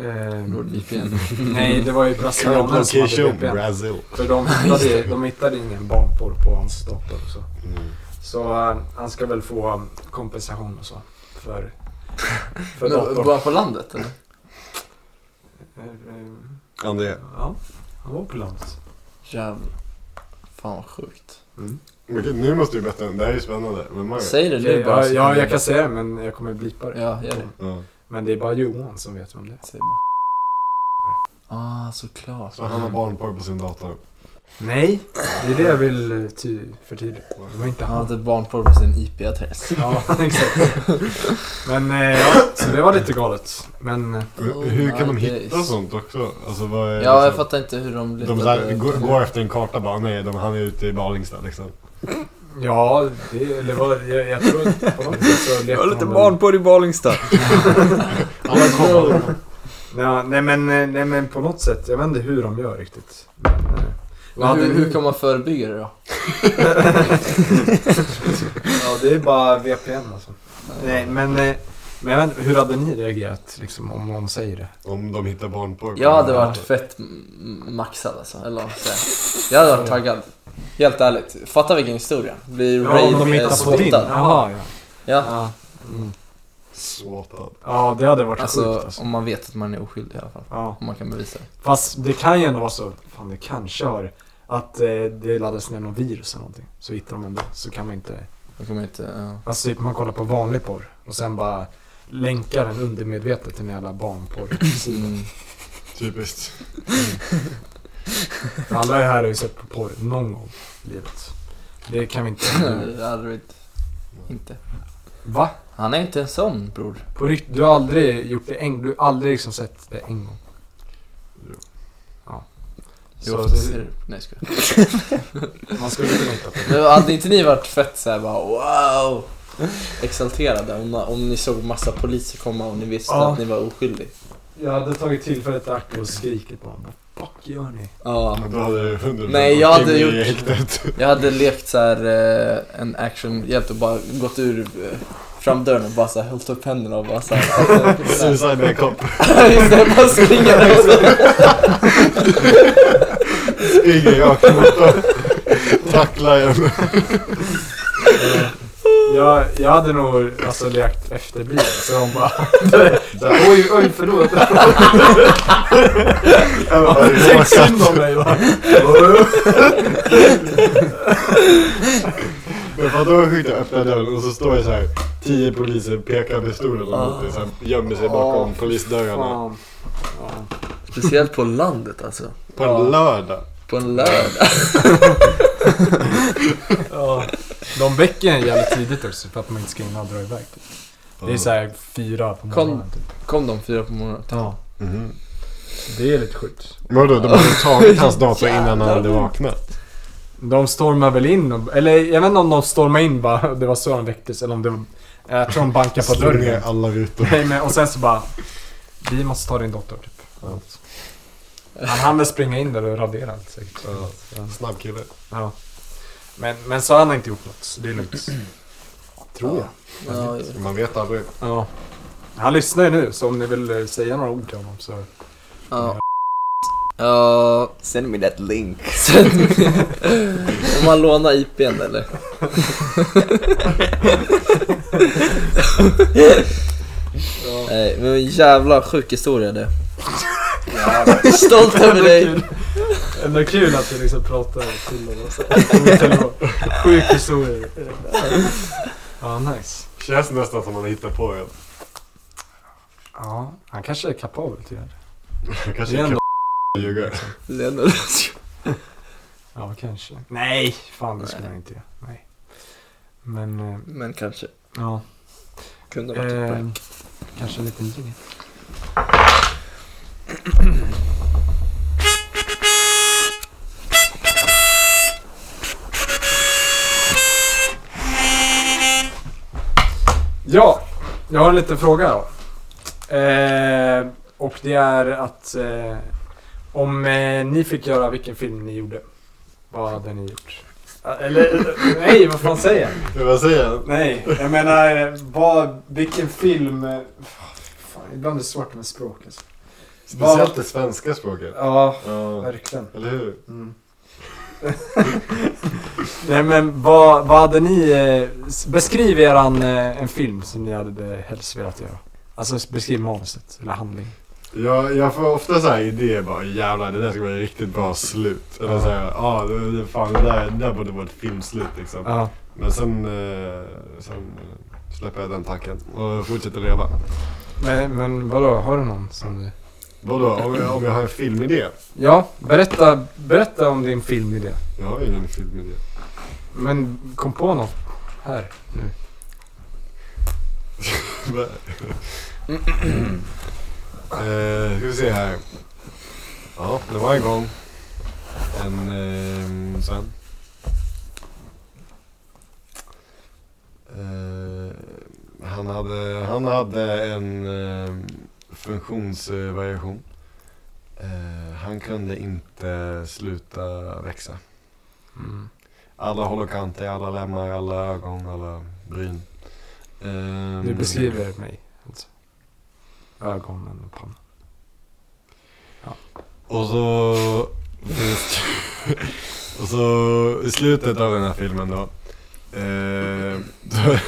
Speaker 4: Eh,
Speaker 1: NordVPN.
Speaker 4: nej, det var ju brasilianer som hade
Speaker 5: Location
Speaker 4: VPN.
Speaker 5: Brazil.
Speaker 4: För de hittade, de hittade ingen barnporr på hans dator. Så,
Speaker 5: Mm.
Speaker 4: så eh, han ska väl få um, kompensation och så. För
Speaker 1: Men,
Speaker 4: För datorn.
Speaker 1: var han på landet eller?
Speaker 4: Eh, eh,
Speaker 5: André.
Speaker 4: Ja, han var på landet.
Speaker 1: Jävlar. Fan vad sjukt.
Speaker 5: Okej, nu måste du berätta. Det här är ju spännande. Vem är det?
Speaker 1: Säg Mm. det
Speaker 4: Okej,
Speaker 1: nu bara.
Speaker 4: ja,
Speaker 1: så-
Speaker 4: ja, jag kan säga det, men jag kommer blipa det.
Speaker 1: Ja, gör det.
Speaker 5: Ja.
Speaker 4: Men det är bara Johan som vet vem det är.
Speaker 1: Säg bara. Ah, såklart.
Speaker 5: Så han har barnporr på sin dator.
Speaker 4: Nej, det är det jag vill eh, ty- förtydliga. Det var inte
Speaker 1: Han
Speaker 4: han.
Speaker 1: hade barnporr på sin IP-adress.
Speaker 4: Ja, exakt. Men eh, ja, så det var lite galet. Men eh,
Speaker 5: Hur-
Speaker 1: Oh
Speaker 5: hur kan
Speaker 1: my
Speaker 5: de hitta
Speaker 1: days.
Speaker 5: sånt också? Alltså vad
Speaker 1: Ja,
Speaker 5: är
Speaker 1: jag
Speaker 5: liksom-
Speaker 1: fattar inte hur de
Speaker 5: De så här, går, går efter en karta bara, nej de, han är ute i Balingsta liksom.
Speaker 4: ja, det, eller var, jag, jag tror att på något sätt så
Speaker 7: Jag
Speaker 4: lekte
Speaker 7: har lite
Speaker 4: man-
Speaker 7: barnporr i Balingstad.
Speaker 5: Alla kollar.
Speaker 4: Ja, nej, men, eh, nej men på något sätt, jag vet inte hur de gör riktigt. Men, eh, vad hade
Speaker 1: hur,
Speaker 4: ni-
Speaker 1: hur kan man förebygga det då?
Speaker 4: Ja, det är bara VPN alltså. Nej, men, eh, men jag vet inte, hur hade ni reagerat liksom, om någon säger det?
Speaker 5: Om de hittar barnporr.
Speaker 1: Jag hade varit fett m- maxad alltså, eller vad man ska säga. Jag hade varit taggad. Helt ärligt. Fatta vilken historia. Blir
Speaker 4: om
Speaker 1: rave
Speaker 4: de
Speaker 1: eh,
Speaker 4: hittar på din?
Speaker 1: spottad.
Speaker 4: Jaha, ja.
Speaker 1: Ja,
Speaker 4: Ja, mm.
Speaker 5: Swatad.
Speaker 4: ja det hade varit sjukt
Speaker 1: alltså
Speaker 4: alltså.
Speaker 1: om man vet att man är oskyldig i alla fall.
Speaker 4: Ja.
Speaker 1: Om man kan bevisa det.
Speaker 4: Fast det kan ju ändå vara så, fan det kanske har, att eh, det laddas ner någon virus eller någonting. Så hittar de ändå, så kan man inte.
Speaker 1: Då kommer inte... ja.
Speaker 4: Alltså typ man kollar på vanlig porr och sen bara länkar den undermedvetet till en jävla barnporr.
Speaker 1: Mm.
Speaker 5: Typiskt.
Speaker 4: För alla här har ju sett på porr någon gång i livet. Det kan vi inte...
Speaker 1: Det hade vi inte- inte.
Speaker 4: Va?
Speaker 1: Han är inte en sån bror.
Speaker 4: På rikt- du har aldrig gjort det en, du har aldrig liksom sett det en gång.
Speaker 5: Jo.
Speaker 4: Ja.
Speaker 1: Hur
Speaker 4: Så
Speaker 1: ofta ser
Speaker 4: det,
Speaker 1: du? Nej, ska
Speaker 4: man skulle kunna hitta på det.
Speaker 1: Men hade inte ni varit fett såhär bara wow? Exalterade om, om ni såg massa poliser komma och ni visste
Speaker 4: Ja.
Speaker 1: att ni var oskyldig?
Speaker 4: Jag hade tagit tillfället i akt och skrikit på honom. Vad fuck gör ni?
Speaker 1: Ja.
Speaker 5: Men Då hade du hundra
Speaker 1: Nej, jag hade
Speaker 5: in i
Speaker 1: gjort-
Speaker 5: häktet.
Speaker 1: Jag hade lekt så här eh, en actionhjälte och bara gått ur eh, framdörren och bara så här hällt upp händerna och bara så här.
Speaker 5: Suicide med kopp.
Speaker 1: Just det, bara springer där.
Speaker 5: Springer rakt mot dem. Tacklar en.
Speaker 4: Jag, jag hade nog alltså lekt efter bilen så de bara... så här, oj, oj, förlåt.
Speaker 5: Jag bara,
Speaker 4: Tänk synd om mig va?
Speaker 5: Men vadå vad sjukt att öppna dörren och så står det så här. Tio poliser pekar med stolen och så här, gömmer sig bakom
Speaker 4: Åh,
Speaker 5: polisdörrarna.
Speaker 4: Fan. Ja.
Speaker 1: Speciellt på landet alltså.
Speaker 5: På en lördag.
Speaker 1: På en lördag.
Speaker 4: Ja. De väcker en jävligt tidigt också för att man inte ska hinna dra iväg. Typ. Det är såhär fyra på
Speaker 1: Kom.
Speaker 4: morgonen typ.
Speaker 1: Kom de fyra på morgonen?
Speaker 4: Ja.
Speaker 5: Mhm.
Speaker 4: Det är lite sjukt.
Speaker 5: Men vadå, de hade tagit hans dator innan han hade vaknat?
Speaker 4: De stormar väl in och, eller jag vet inte om de stormar in bara, det var så de väcktes eller om det var, Jag tror de bankar på
Speaker 5: Slog ner
Speaker 4: dörren.
Speaker 5: alla rutor.
Speaker 4: Nej men och sen så bara, vi måste ta din dotter typ. Han hann väl springa in där och radera allt säkert.
Speaker 5: Snabb kille.
Speaker 4: Ja. Men, men så har han inte gjort något, så det är lugnt. Tror jag.
Speaker 1: Ja,
Speaker 5: Man vet aldrig.
Speaker 4: Ja. Han lyssnar ju nu, så om ni vill eh, säga några ord till honom så...
Speaker 1: ja. Ja,
Speaker 7: Send me that link.
Speaker 1: sen... Om man lånar IPn eller? Nej, men jävla sjuk historia det. Stolt över dig.
Speaker 4: Ändå kul att vi liksom pratar till honom så. Sjuk historia. Ja, nice.
Speaker 5: Känns nästan som man hittar på en.
Speaker 4: Ja, han kanske är kapabel till det. här.
Speaker 5: Jag
Speaker 4: Det
Speaker 5: kanske
Speaker 4: är
Speaker 5: kan
Speaker 4: ändå...
Speaker 5: ljuga.
Speaker 1: Leonard.
Speaker 4: Ja, kanske. Nej! Fan, det skulle
Speaker 1: Nej.
Speaker 4: han inte göra. Nej. Men, eh,
Speaker 1: Men kanske
Speaker 4: ja.
Speaker 1: kunde varit ett
Speaker 4: Eh,
Speaker 1: prank.
Speaker 4: kanske en liten jingel. Ja, jag har en liten fråga då. Eh, och det är att eh, om eh, ni fick göra vilken film ni gjorde, vad hade ni gjort? Eller nej, vad fan säger jag?
Speaker 5: Men Vad säger han?
Speaker 4: Nej, jag menar eh, vad, vilken film... eh, Fan, ibland är det svårt med språk alltså.
Speaker 5: Speciellt det svenska språket.
Speaker 4: Ja,
Speaker 5: Ja.
Speaker 4: verkligen. Mm.
Speaker 5: Eller hur?
Speaker 4: Nej men vad, vad hade ni... Eh, s- beskriv eran, eh, en film som ni hade eh, helst velat göra. Alltså beskriv manuset, eller handling.
Speaker 5: Jag, jag får ofta så här idéer bara jävlar det där ska bli ett riktigt bra slut. Eller så här, ja det, det, fan det där, det där borde vara ett filmslut liksom.
Speaker 4: Ja.
Speaker 5: Men sen, eh, sen eh, släpper jag den tanken och fortsätter leva.
Speaker 4: Men, men vadå, har du någon som du...
Speaker 5: Vadå, om jag, om jag har en filmidé?
Speaker 4: Ja, berätta, berätta om din filmidé.
Speaker 5: Jag har ingen filmidé.
Speaker 4: Men kom på något här nu.
Speaker 5: Va? eh, ska vi se här. Ja, det var en gång. En eh, sen. Eh, han, hade, han hade en eh, funktionsvariation. Eh, han kunde inte sluta växa.
Speaker 4: Mm.
Speaker 5: Alla hål och kanter, alla lemmar, alla ögon, alla bryn. Eh,
Speaker 4: Du beskriver mig. Alltså. Ögonen och pannan.
Speaker 5: Och så... finns det- och så i slutet av den här filmen då. Eh, då,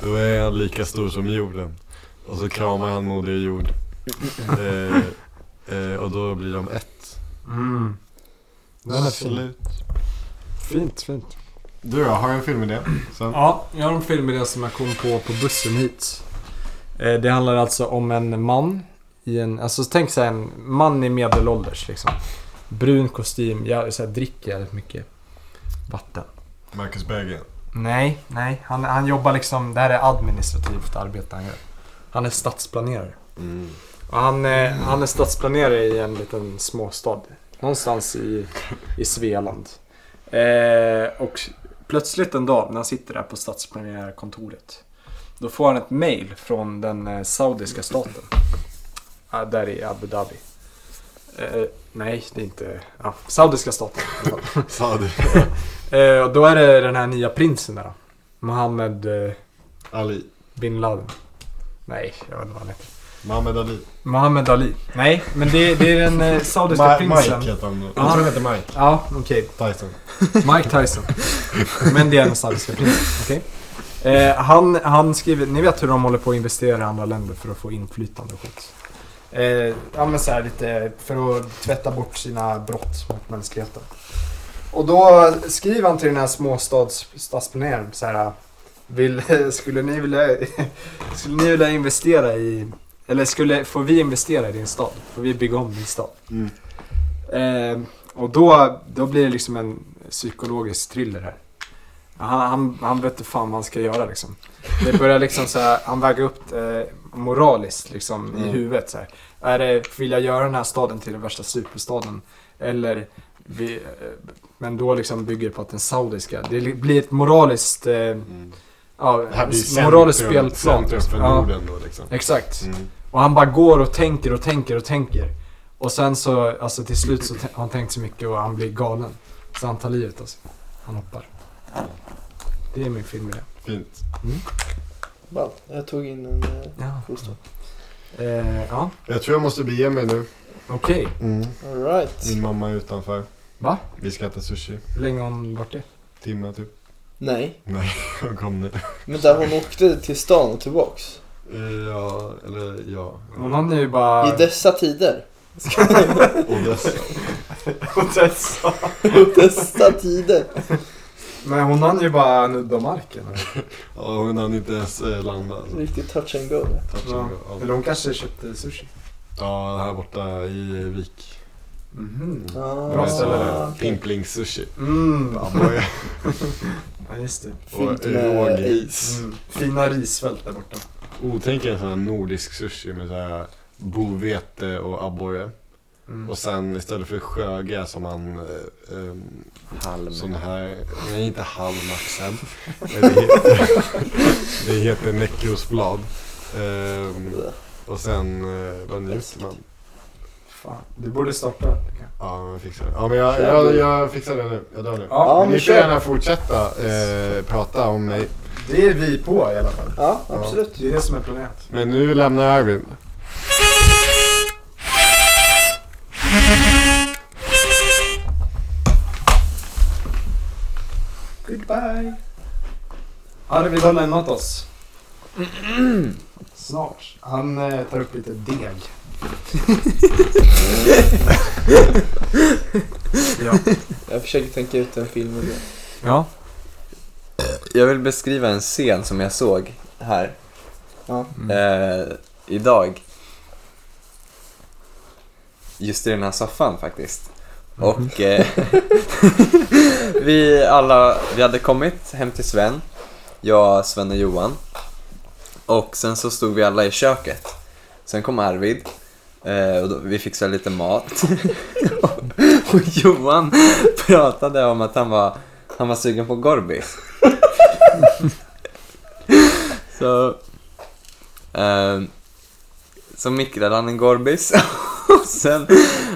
Speaker 5: då är han lika stor som jorden. Och så kramar han moder jord. Eh, eh, och då blir de ett.
Speaker 4: Mm. Den är fin.
Speaker 5: Slut.
Speaker 4: Fint, fint.
Speaker 5: Du då, har du en filmidé? Sen?
Speaker 4: Ja, jag har en filmidé som jag kom på på bussen hit. Eh, Det handlar alltså om en man i en, alltså tänk sig en man i medelålders liksom. Brun kostym, jag, så här, dricker jävligt mycket vatten.
Speaker 5: Marcus Berggren.
Speaker 4: Nej, nej. Han, han jobbar liksom, det här är administrativt arbete han gör. Han är stadsplanerare.
Speaker 5: Mm.
Speaker 4: Och han, eh, han är stadsplanerare i en liten småstad. Någonstans i, i Svealand. Eh, och plötsligt en dag när han sitter där på stadsplanerarkontoret. Då får han ett mail från den eh, saudiska staten. Ah, där i Abu Dhabi. Eh, nej, det är inte... Ja, saudiska staten.
Speaker 5: Sa du?
Speaker 4: Eh, och då är det den här nya prinsen där. då. Mohammed eh,
Speaker 5: Ali.
Speaker 4: bin Laden. Nej, jag vet inte vad han heter.
Speaker 5: Mohammed Ali.
Speaker 4: Mohammed Ali. Nej, men det, det är den eh, saudiska
Speaker 5: Ma-
Speaker 4: prinsen.
Speaker 5: Mike heter han då.
Speaker 4: Ja.
Speaker 5: Jag tror han heter Mike.
Speaker 4: Ja, okej.
Speaker 5: Tyson.
Speaker 4: Mike Tyson. Men det är den saudiska prinsen. Okej. Eh, han, han skriver, ni vet hur de håller på att investera i andra länder för att få inflytande och skit. Eh, ja men så här lite för att tvätta bort sina brott mot mänskligheten. Och då skriver han till den här småstads stadsplaneraren så här. Vill, skulle, ni vilja, skulle ni vilja investera i, eller skulle, får vi investera i din stad? Får vi bygga om din stad?
Speaker 5: Mm.
Speaker 4: Eh, och då, då blir det liksom en psykologisk thriller här. Han, han, han vet inte fan vad han ska göra liksom. Det börjar liksom så här, han väger upp eh, moraliskt liksom i
Speaker 5: Mm.
Speaker 4: huvudet så här. Är det, vill jag göra den här staden till den värsta superstaden? Eller, vi, eh, men då liksom bygger det på att den saudiska, det li- blir ett moraliskt, eh,
Speaker 5: Mm.
Speaker 4: ja,
Speaker 5: Det här blir centrum-
Speaker 4: moraliskt spelplan.
Speaker 5: Centrum för
Speaker 4: Ja,
Speaker 5: Norden då liksom.
Speaker 4: exakt.
Speaker 5: Mm.
Speaker 4: Och han bara går och tänker och tänker och tänker. Och sen så, alltså till slut så t- har han tänkt så mycket och han blir galen. Så han tar livet av sig. Han hoppar. Det är min film i det.
Speaker 5: Fint.
Speaker 1: Jag tog in en...
Speaker 4: Ja. Eh, ja,
Speaker 5: Jag tror jag måste bege mig nu.
Speaker 4: okej.
Speaker 1: Mm. Alright.
Speaker 5: Min mamma är utanför.
Speaker 4: Va?
Speaker 5: Vi ska äta sushi.
Speaker 4: Hur länge har hon varit det?
Speaker 5: Timme typ.
Speaker 1: Nej.
Speaker 5: Hon kom nu.
Speaker 1: Men där hon åkte till stan och tillbaks.
Speaker 5: Eh, Ja, eller ja.
Speaker 4: Hon har nu bara...
Speaker 1: I dessa tider.
Speaker 5: Odessa.
Speaker 1: I dessa tider.
Speaker 4: Men hon har ju bara nudda marken.
Speaker 5: Ja, hon hann inte ens eh, landa. Alltså.
Speaker 1: Riktigt touch and go. där.
Speaker 5: Touch and go.
Speaker 4: Eller hon kanske köpte sushi.
Speaker 5: Ja, här borta i eh, Vik.
Speaker 4: Mhm.
Speaker 1: Ah,
Speaker 5: Bra ställe
Speaker 1: okej.
Speaker 5: där. Pimpling sushi.
Speaker 4: Mm.
Speaker 5: Och-
Speaker 4: Ja, just det.
Speaker 5: Och eh,
Speaker 1: Fint med
Speaker 5: rågris.
Speaker 4: Mm. Fina risfält där borta.
Speaker 5: Oh, tänk er en sån här nordisk sushi med så här bovete och abborre.
Speaker 4: Mm.
Speaker 5: Och sen istället för sjögräs som man eh, ehm,
Speaker 7: Halm.
Speaker 5: Sån här, nej inte halmaxen. Det heter, det heter nekrosblad. Ehm, och sen, eh, vad njuter man?
Speaker 4: Fan, du borde starta.
Speaker 5: Ja, men jag fixar det. Ja, men jag, jag, jag fixar det nu. Jag drar nu.
Speaker 4: Ja,
Speaker 5: men
Speaker 1: men
Speaker 5: ni får
Speaker 1: kör.
Speaker 5: gärna fortsätta eh, prata om mig.
Speaker 4: det är vi på i alla fall.
Speaker 1: Ja, absolut.
Speaker 4: Det är det som är planerat.
Speaker 5: Men nu lämnar jag Arvid.
Speaker 4: Goodbye. Arvid har lämnat oss.
Speaker 9: Snart. Han eh, tar upp lite deg. ja.
Speaker 1: Jag försöker tänka ut en film.
Speaker 9: ja.
Speaker 7: Jag vill beskriva en scen som jag såg här
Speaker 1: Ja.
Speaker 7: eh, idag. Just i den här soffan faktiskt. Och eh, vi alla, vi hade kommit hem till Sven, jag, Sven och Johan. Och sen så stod vi alla i köket. Sen kom Arvid. Eh, och då, vi fixade lite mat. och, och Johan pratade om att han var, han var sugen på Gorby. Så, ehm, så mikrade han en Gorbis och sen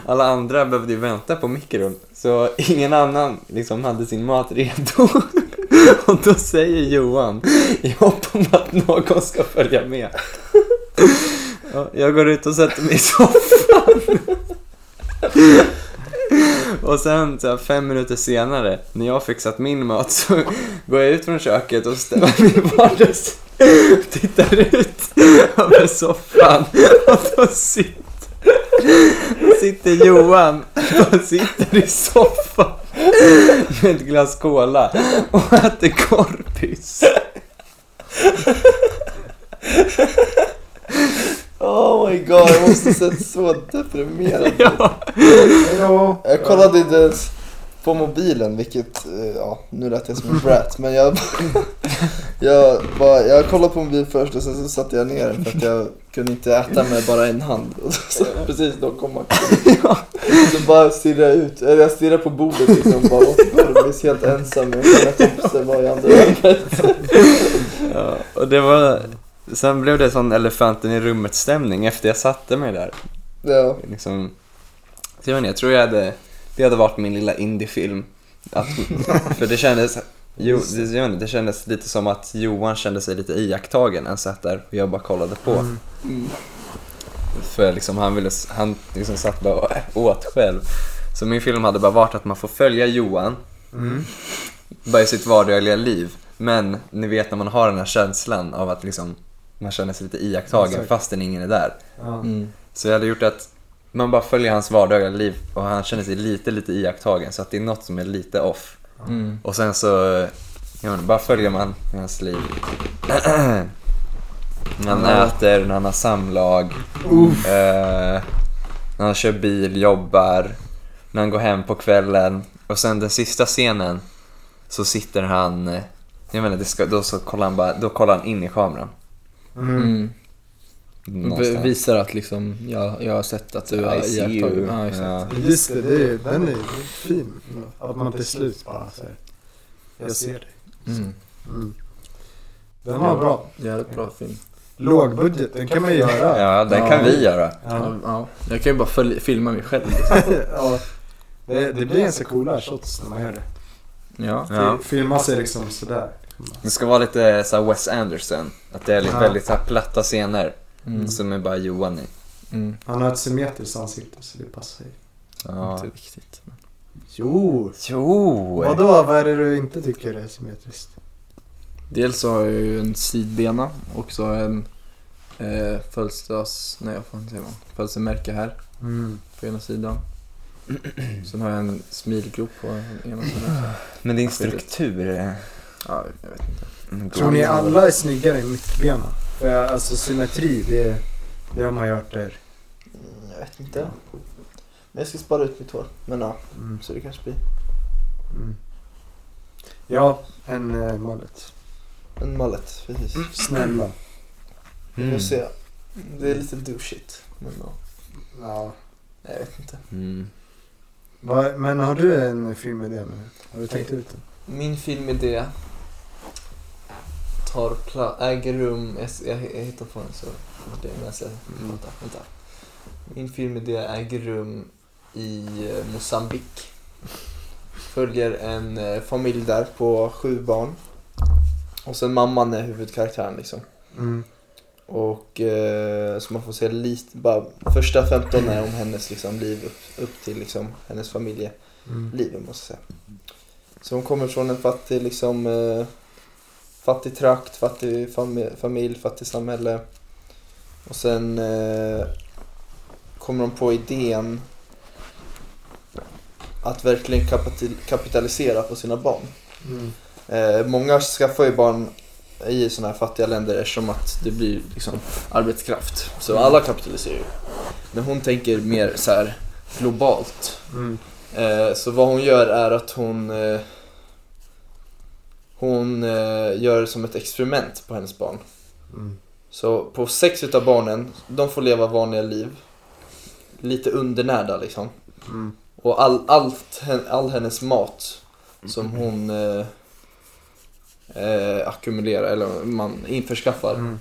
Speaker 7: alla andra behövde ju vänta på mikron. Så ingen annan liksom hade sin mat redo. Och då säger Johan i hopp om att någon ska följa med. Ja, Jag går ut och sätter mig i soffan. Och sen så här, fem minuter senare, när jag har fixat min mat, så går jag ut från köket och ställer mig i vardags tittar ut över soffan och då sitter, sitter Johan och sitter i soffan med ett glas cola och äter korpis.
Speaker 1: Oh my god, jag måste sett så deprimerad
Speaker 7: Ja.
Speaker 9: Hejdå!
Speaker 1: Jag kollade inte ens på mobilen, vilket, eh, ja, nu lät jag som en brat, men jag jag, bara, jag kollade på mobilen först och sen så satte jag ner den för att jag kunde inte äta med bara en hand. Och så, precis då kom man. Så bara stirrade jag ut, eller jag stirrade på bordet liksom bara och Gormis helt ensam med mina kompisar var i andra rummet.
Speaker 7: Ja, och det var... Sen blev det sån elefanten i rummet stämning efter jag satte mig där.
Speaker 1: Ja,
Speaker 7: Liksom, så jag, vet inte, jag tror jag hade... Det hade varit min lilla indiefilm. Att, för det kändes... Jo, det, jag vet inte, det kändes lite som att Johan kände sig lite iakttagen. Han satt där och jag bara kollade på.
Speaker 9: Mm.
Speaker 7: För liksom han, ville, han liksom satt bara och åt själv. Så min film hade bara varit att man får följa Johan.
Speaker 9: Mm.
Speaker 7: Bara i sitt vardagliga liv. Men ni vet när man har den här känslan av att liksom, man känner sig lite iakttagen
Speaker 9: Exakt.
Speaker 7: fastän ingen är där.
Speaker 9: Ja.
Speaker 7: Så jag hade gjort att man bara följer hans vardagliga liv och han känner sig lite, lite iakttagen. Så att det är något som är lite off. Och sen så, jag menar, bara följer man hans liv. när han äter, när han har samlag. Eh, när han kör bil, jobbar. När han går hem på kvällen. Och sen den sista scenen så sitter han, eh, jag menar, det ska, då, så kollar han bara, då kollar han in i kameran. Mm. Någonstans.
Speaker 1: visar att liksom, jag, jag har sett att du
Speaker 7: I see you. Ja.
Speaker 4: Just det, det är, den är fin. Mm. Att man till slut bara säger jag ser dig. Den var bra.
Speaker 1: Mm. Jävligt bra film.
Speaker 4: Lågbudget, den kan man göra.
Speaker 7: Ja, den kan vi göra.
Speaker 4: Ja.
Speaker 1: Ja, jag kan ju bara följ- filma mig själv.
Speaker 4: Ja. Det, det blir ganska coola shots när man gör det.
Speaker 1: Ja.
Speaker 7: Ja.
Speaker 4: Filma sig liksom sådär.
Speaker 7: Det ska vara lite så här Wes Anderson. Att det är lite
Speaker 4: Ja.
Speaker 7: väldigt så här platta scener
Speaker 1: Mm.
Speaker 7: som är bara Johan i.
Speaker 1: Mm.
Speaker 4: Han har ett symmetriskt ansikte så det passar ju.
Speaker 7: Ja.
Speaker 1: Inte riktigt.
Speaker 4: Jo!
Speaker 7: Jo!
Speaker 4: Vadå, vad är det du inte tycker är symmetriskt?
Speaker 1: Dels så har jag ju en sidbena och så har jag en eh, födelsedags... Nej, vad fan säger man? Födelsemärke här
Speaker 4: Mm.
Speaker 1: på ena sidan. Sen har jag en smilgrop på ena sidan.
Speaker 7: Men din struktur. är-
Speaker 1: Ja, jag vet inte.
Speaker 4: Tror ni alla är snyggare i mittbena? För jag- alltså symmetri, det, det har man gjort där.
Speaker 1: Jag vet inte. Men jag ska spara ut mitt hår. Men ja,
Speaker 4: Mm.
Speaker 1: så det kanske blir
Speaker 4: Mm. Ja, en eh, mallet.
Speaker 1: en mallet. Precis.
Speaker 4: Snälla.
Speaker 7: Mm.
Speaker 1: se. Det är lite douchigt. Men ja,
Speaker 4: Ja.
Speaker 1: jag vet inte.
Speaker 7: Mm.
Speaker 4: Va, men har du en filmidé nu? Har du tänkt ut den?
Speaker 1: Min filmidé tar pla- äger rum, jag, s- jag, jag hittar på den så det är medan jag vänta, vänta. Min filmidé äger rum i eh, Mozambique. Följer en eh, familj där på sju barn. Och sen mamman är huvudkaraktären liksom.
Speaker 4: Mm.
Speaker 1: Och eh, så man får se lite, bara första 15 är om hennes liksom, liv upp, upp till liksom, hennes familjeliv
Speaker 4: Mm.
Speaker 1: måste jag säga. Så hon kommer från en fattig liksom eh, fattig trakt, fattig fami- familj, fattig samhälle. Och sen eh, kommer de på idén att verkligen kapati- kapitalisera på sina barn.
Speaker 4: Mm.
Speaker 1: Eh, många skaffar ju barn i sådana här fattiga länder eftersom att det blir liksom arbetskraft. Så alla kapitaliserar ju. Men hon tänker mer så här globalt.
Speaker 4: Mm.
Speaker 1: Eh, så vad hon gör är att hon eh, Hon eh, gör som ett experiment på hennes barn.
Speaker 4: Mm.
Speaker 1: Så på sex utav barnen, de får leva vanliga liv. Lite undernärda liksom.
Speaker 4: Mm.
Speaker 1: Och all, allt, hen- all hennes mat som hon eh, eh, ackumulerar, eller man införskaffar.
Speaker 4: Mm.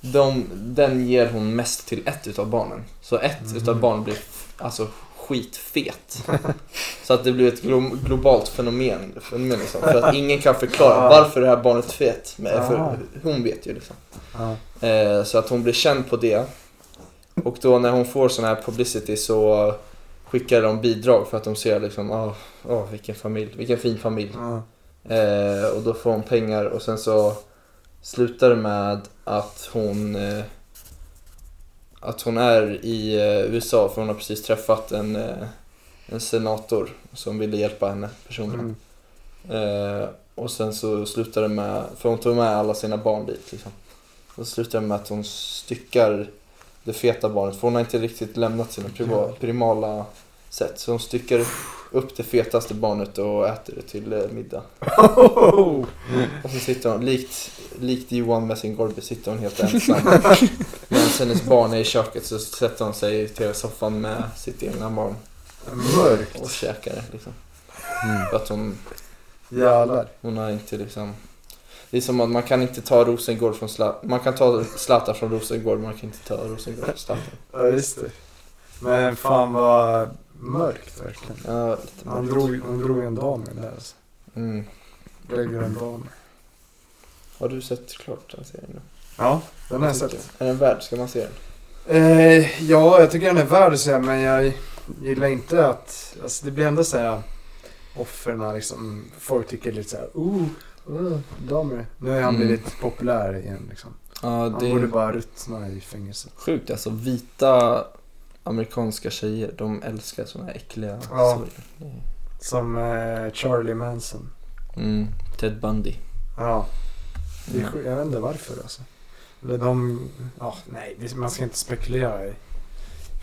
Speaker 1: De, den ger hon mest till ett utav barnen. Så ett utav barnen blir f- alltså skitfet. Så att det blir ett glo- globalt fenomen. fenomen liksom. För att ingen kan förklara
Speaker 4: Ah.
Speaker 1: varför det här barnet är fet. Men
Speaker 4: Ah.
Speaker 1: för hon vet ju liksom.
Speaker 4: Ja.
Speaker 1: Eh, så att hon blir känd på det. Och då när hon får sån här publicity så skickar de bidrag för att de ser liksom, åh, åh, vilken familj, vilken fin familj.
Speaker 4: Ja.
Speaker 1: Eh, och då får hon pengar och sen så slutar det med att hon eh, att hon är i eh, USA för hon har precis träffat en, eh, en senator som ville hjälpa henne personligen.
Speaker 4: Mm.
Speaker 1: Eh, och sen så slutar det med, för hon tog med alla sina barn dit liksom. Och så slutar det med att hon styckar det feta barnet för hon har inte riktigt lämnat sina priva, primala sätt. Så hon styckar upp det fetaste barnet och äter det till eh, middag. Och så sitter hon, likt, likt Johan Messingorby, sitter hon helt ensam. Medan hennes barn är i köket så sätter hon sig i tv-soffan med sitt egna barn
Speaker 4: Mörkt. Mm.
Speaker 1: och käkar det liksom. För att hon,
Speaker 4: Jävlar.
Speaker 1: hon har inte liksom... Det är som att man kan inte ta Rosengård från Zlatan. Man kan ta Zlatan från Rosengård, man kan inte ta Rosengård från Zlatan.
Speaker 4: Ja, just det. Men fan vad mörkt verkligen.
Speaker 1: Ja, lite
Speaker 4: Han
Speaker 1: mörkt.
Speaker 4: drog, han drog en dam i det där alltså.
Speaker 1: Mm.
Speaker 4: Lägger en dam.
Speaker 1: Har du sett klart den serien? då?
Speaker 4: Ja, den har jag sett.
Speaker 1: Är den värd? Ska man se den?
Speaker 4: Eh, ja, jag tycker den är värd att se men jag gillar inte att... Alltså det blir ändå så här offerna liksom. Folk tycker lite så här, oh, oh damer. Nu har han
Speaker 1: Mm.
Speaker 4: blivit populär igen liksom.
Speaker 1: Ja,
Speaker 4: Han borde bara ruttna i fängelset.
Speaker 1: Sjukt alltså, vita amerikanska tjejer, de älskar såna här äckliga
Speaker 4: Ja.
Speaker 1: sorger.
Speaker 4: Som eh, Charlie Manson.
Speaker 1: Mm, Ted Bundy.
Speaker 4: Ja. Det är, sj- jag vet inte varför alltså. Eller de... Ja, nej, det- man ska inte spekulera i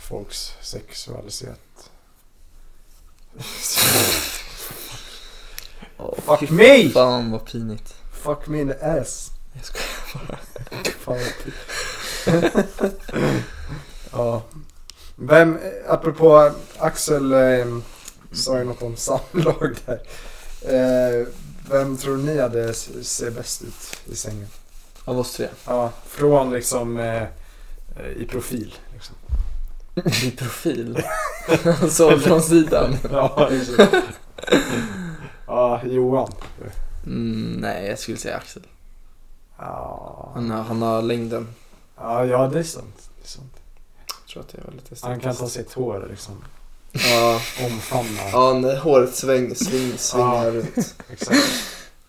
Speaker 4: folks sexualitet.
Speaker 1: Oh,
Speaker 4: Fuck me!
Speaker 1: fan vad pinigt.
Speaker 4: Fuck me in the ass.
Speaker 1: Jag skojar.
Speaker 4: Fan Ja. Vem, apropå Axel eh, sa ju något om samlag där. Eh, vem tror ni hade s- ser bäst ut i sängen?
Speaker 1: Av oss tre.
Speaker 4: Ja, från liksom eh, eh, i profil. Liksom.
Speaker 1: I profil. Så från sidan.
Speaker 4: Ja, liksom. ja, Johan.
Speaker 1: Mm, nej, jag skulle säga Axel.
Speaker 4: Ja,
Speaker 1: Han har, han har längden.
Speaker 4: ja, ja det, är sant. det är sant.
Speaker 1: Jag tror att det var lite stort.
Speaker 4: Han kan ta sitt hår liksom.
Speaker 1: Ja,
Speaker 4: Omfamna.
Speaker 1: ja när håret sväng, sving, svingar
Speaker 4: Ja.
Speaker 1: runt.
Speaker 4: Exakt.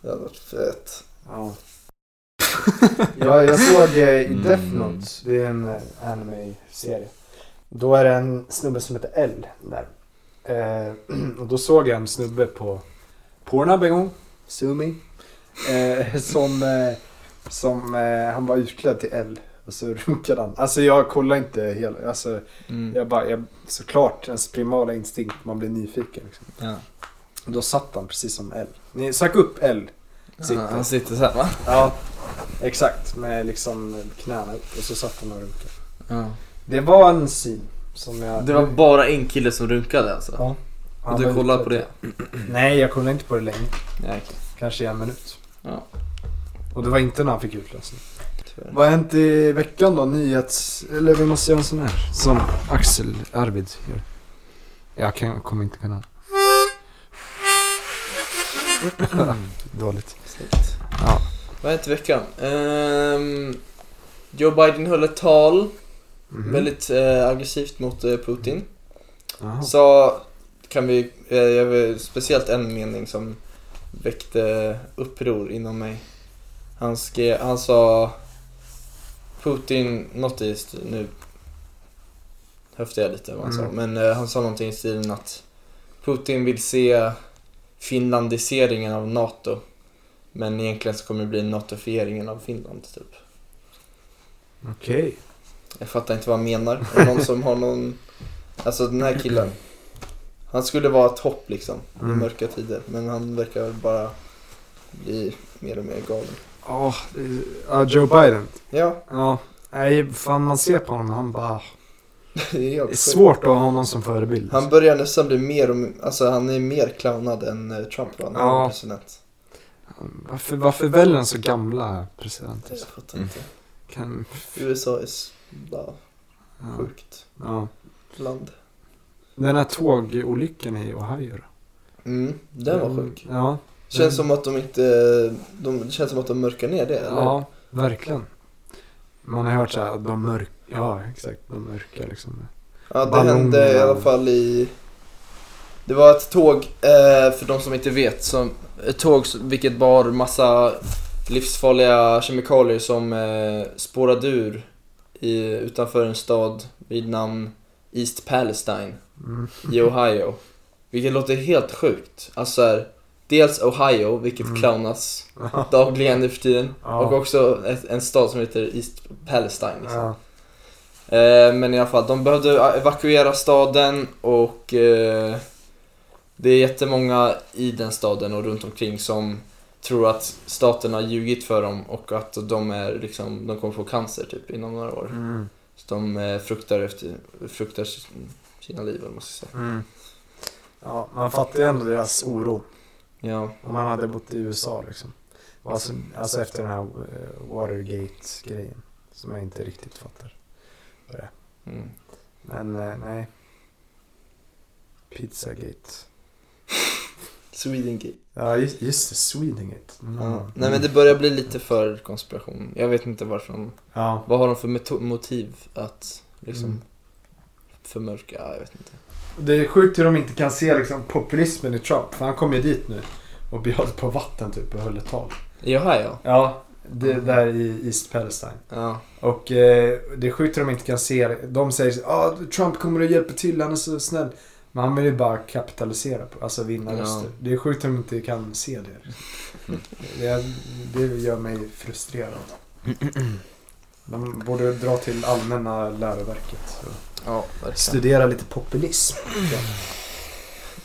Speaker 1: Det hade varit fett.
Speaker 4: Ja. ja, jag såg eh, i Death
Speaker 1: Mm.
Speaker 4: Note, det är en eh, anime-serie. Då är det en snubbe som heter L där. Eh, och då såg jag en snubbe på Pornhub en gång, Sumi. Eh, som eh, som eh, han var utklädd till L och så runkade han. Alltså jag kollar inte hela, alltså
Speaker 1: Mm.
Speaker 4: jag bara, jag, såklart ens primala instinkt, man blir nyfiken. Liksom.
Speaker 1: Ja.
Speaker 4: Då satt han precis som L. Ni, sök upp L
Speaker 1: Han, han sitter så här va?
Speaker 4: Ja, exakt. Med liksom knäna upp och så satt han och runkade.
Speaker 1: Ja.
Speaker 4: Det var en syn som jag...
Speaker 1: Det var bara en kille som runkade alltså.
Speaker 4: Ja. Han
Speaker 1: Och du
Speaker 4: var
Speaker 1: kollar
Speaker 4: ute.
Speaker 1: på det?
Speaker 4: Nej, jag kollade inte på det länge.
Speaker 1: Nej, okej.
Speaker 4: Kanske i en minut.
Speaker 1: Ja.
Speaker 4: Och det var inte när han fick utlösning.
Speaker 1: Tyvärr.
Speaker 4: Vad har hänt i veckan då? Nyhets... Eller vi måste göra en sån här. Som Axel Arvid gör. Jag kan, kommer inte kunna. Dåligt.
Speaker 1: Mm. Snyggt.
Speaker 4: Ja.
Speaker 1: Vad har hänt i veckan? Ehm, Joe Biden höll ett tal
Speaker 4: Mhm.
Speaker 1: väldigt eh, aggressivt mot eh, Putin.
Speaker 4: Jaha.
Speaker 1: Sa, kan vi, eh, jag vill, speciellt en mening som väckte uppror inom mig. Han, skrev, han sa Putin, något i stil, nu höftar jag lite vad han sa,
Speaker 4: Mm.
Speaker 1: men eh, han sa någonting i stilen att Putin vill se finlandiseringen av NATO. Men egentligen så kommer det bli natofieringen av Finland typ.
Speaker 4: Okej.
Speaker 1: Jag fattar inte vad han menar. Är det någon som har någon... Alltså den här killen. Han skulle vara ett hopp liksom i
Speaker 4: Mm.
Speaker 1: mörka tider. Men han verkar bara bli mer och mer galen.
Speaker 4: Ja, det- ja, Joe Biden.
Speaker 1: Ja,
Speaker 4: Ja. Nej, fan man ser på honom, han bara...
Speaker 1: det är
Speaker 4: Det är
Speaker 1: helt sjukt.
Speaker 4: svårt att ha honom som förebild.
Speaker 1: Han börjar nästan bli mer och alltså han är mer clownad än eh, Trump var när han
Speaker 4: Ja.
Speaker 1: var president.
Speaker 4: Varför, varför väljer han så gamla presidenter?
Speaker 1: Jag fattar inte.
Speaker 4: Kan,
Speaker 1: USA är s- bara
Speaker 4: Mm. ja,
Speaker 1: sjukt
Speaker 4: ja.
Speaker 1: land.
Speaker 4: Den här tågolyckan i Ohio då?
Speaker 1: Mm, den var sjuk.
Speaker 4: Ja,
Speaker 1: Känns som att de inte, de, det känns som att de mörkar ner det eller?
Speaker 4: ja verkligen. Man har hört så här, de mörk... Ja, exakt. De mörka liksom.
Speaker 1: Ja, det
Speaker 4: Ballong-
Speaker 1: hände i alla fall i... Det var ett tåg, eh, för de som inte vet, som, ett tåg som- vilket bar massa livsfarliga kemikalier som eh, spårade ur i, utanför en stad vid namn East Palestine
Speaker 4: Mm.
Speaker 1: i Ohio. Vilket låter helt sjukt. Alltså så här, dels Ohio, vilket
Speaker 4: Mm.
Speaker 1: clownas dagligen nu för tiden.
Speaker 4: Ja.
Speaker 1: Och också ett, en stad som heter East Palestine. Liksom.
Speaker 4: Ja.
Speaker 1: Eh, Men i alla fall, de behövde eh, evakuera staden och eh, det är jättemånga i den staden och runt omkring som tror att staten har ljugit för dem och att de, är liksom, de kommer få cancer typ inom några år.
Speaker 4: Mm.
Speaker 1: Så de eh, fruktar, efter, fruktar sina liv, eller vad man ska säga.
Speaker 4: Mm. Ja, man fattar ju ändå deras oro.
Speaker 1: Ja,
Speaker 4: Om man hade bott i USA liksom. Alltså, alltså efter den här eh, Watergate-grejen. Som jag inte riktigt fattar.
Speaker 1: mm.
Speaker 4: Men eh, nej. Pizzagate.
Speaker 1: Swedengate.
Speaker 4: Ja, just, just det. Swedengate. Mm.
Speaker 1: Ja. Nej men det börjar bli lite för konspiration. Jag vet inte varför de...
Speaker 4: Ja.
Speaker 1: Vad har de för meto- motiv att liksom
Speaker 4: Mm.
Speaker 1: förmörka? Ja, jag vet inte.
Speaker 4: Det är sjukt hur de inte kan se liksom, populismen i Trump. För han kom ju dit nu och bjöd på vatten typ och höll ett tal.
Speaker 1: Jaha ja.
Speaker 4: Ja, det där i East Palestine.
Speaker 1: Ja.
Speaker 4: Och eh, det är sjukt hur de inte kan se det. De säger att ah, Trump kommer att hjälpa till, han är så snäll. Men han vill ju bara kapitalisera på, alltså vinna
Speaker 1: Ja.
Speaker 4: röster. Det är sjukt hur de inte kan se det. Det, det gör mig frustrerad. De borde dra till allmänna läroverket och
Speaker 1: Ja, verkligen.
Speaker 4: studera lite populism.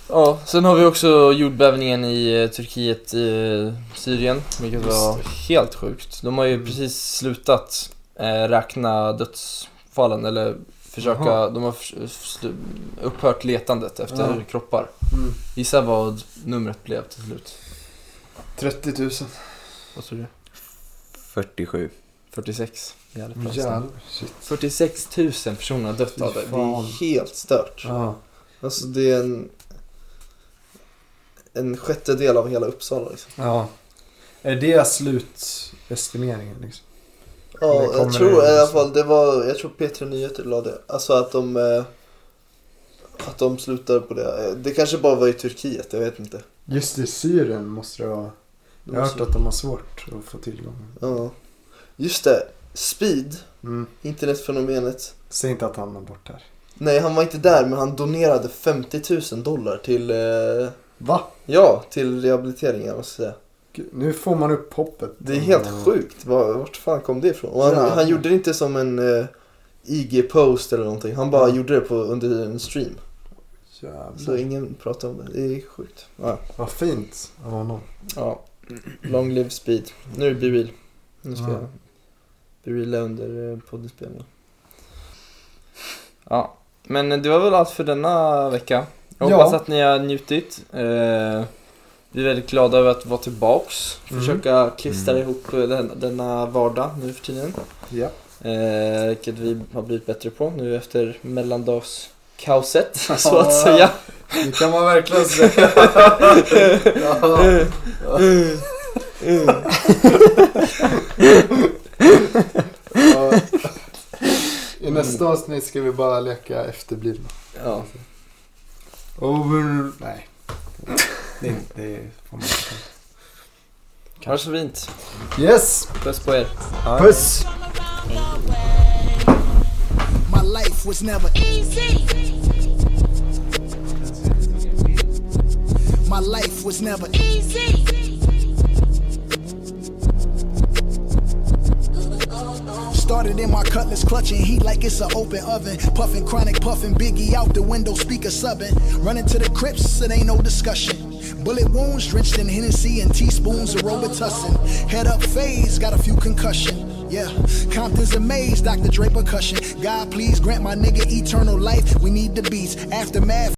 Speaker 1: Ja, sen har vi också jordbävningen i eh, Turkiet, i Syrien, vilket var helt sjukt. De har ju precis slutat eh, räkna dödsfallen, eller försöka,
Speaker 4: Jaha.
Speaker 1: de har förs- slu- upphört letandet efter
Speaker 4: Ja.
Speaker 1: kroppar.
Speaker 4: Mm.
Speaker 1: Gissa vad numret blev till slut.
Speaker 4: 30 000.
Speaker 1: Vad tror du?
Speaker 10: 47.
Speaker 1: 46. Jävligt bra snabbt.
Speaker 4: Jävlar. Shit.
Speaker 1: 46 000 personer har dött
Speaker 4: Fy
Speaker 1: av det. Det är
Speaker 4: fan.
Speaker 1: helt stört.
Speaker 4: Ja.
Speaker 1: Alltså det är en, en sjättedel av hela Uppsala liksom.
Speaker 4: ja. Är det slutestimeringen liksom? Eller
Speaker 1: Ja,
Speaker 4: kommer
Speaker 1: jag tror
Speaker 4: det-
Speaker 1: i alla fall det var, jag tror P3 Nyheter la det. Alltså att de, eh, att de slutade på det. Eh, Det kanske bara var i Turkiet, jag vet inte.
Speaker 4: Just i Syrien måste det vara.
Speaker 1: De
Speaker 4: Jag har
Speaker 1: måste-
Speaker 4: hört att de har svårt att få tillgång.
Speaker 1: Ja. Just det, Speed,
Speaker 4: Mm.
Speaker 1: internetfenomenet.
Speaker 4: Säg inte att han är bort här.
Speaker 1: Nej, han var inte där men han donerade 50 000 dollar till, eh,
Speaker 4: Va?
Speaker 1: ja, till rehabiliteringen måste jag säga.
Speaker 4: Gud, Nu får man upp hoppet.
Speaker 1: Det är helt
Speaker 4: Mm.
Speaker 1: sjukt, Var- vart fan kom det ifrån? Och han,
Speaker 4: Ja.
Speaker 1: han gjorde det inte som en eh, IG-post eller någonting, han bara gjorde det på, under en stream. Så
Speaker 4: Jävlar.
Speaker 1: ingen pratar om det. Det är sjukt. Ja.
Speaker 4: Vad fint av honom.
Speaker 1: ja. Long live speed. Nu är det Be Real. Nu ska
Speaker 4: Ja.
Speaker 1: jag Be Real under eh, poddinspelningen. Ja, men det var väl allt för denna vecka. Jag
Speaker 4: Ja.
Speaker 1: hoppas att ni har njutit. Eh, vi är väldigt glada över att vara tillbaks.
Speaker 4: Mm.
Speaker 1: Försöka klistra ihop eh, den, denna vardag nu för tiden.
Speaker 4: Ja.
Speaker 1: Eh, vilket vi har blivit bättre på nu efter mellandagskaoset,
Speaker 4: Mm.
Speaker 1: så att säga.
Speaker 11: Det kan man verkligen säga. ja.
Speaker 4: Ja. I nästa avsnitt ska vi bara leka efterblivna.
Speaker 1: Ja.
Speaker 4: Over... Nej. Det, det får man inte.
Speaker 1: Ha det så fint.
Speaker 4: Yes!
Speaker 1: Puss på er.
Speaker 4: Puss!
Speaker 12: My life was never easy. My life was never e- easy. Started in my cutlass clutching heat like it's an open oven. Puffing chronic, puffing biggie out the window, speaker subbing. Running to the crypts, it ain't no discussion. Bullet wounds drenched in Hennessy and teaspoons of Robitussin. Head up phase, got a few concussion. Yeah, Compton's amazed, Dr. Dre percussion. God, please grant my nigga eternal life. We need the beats. Aftermath.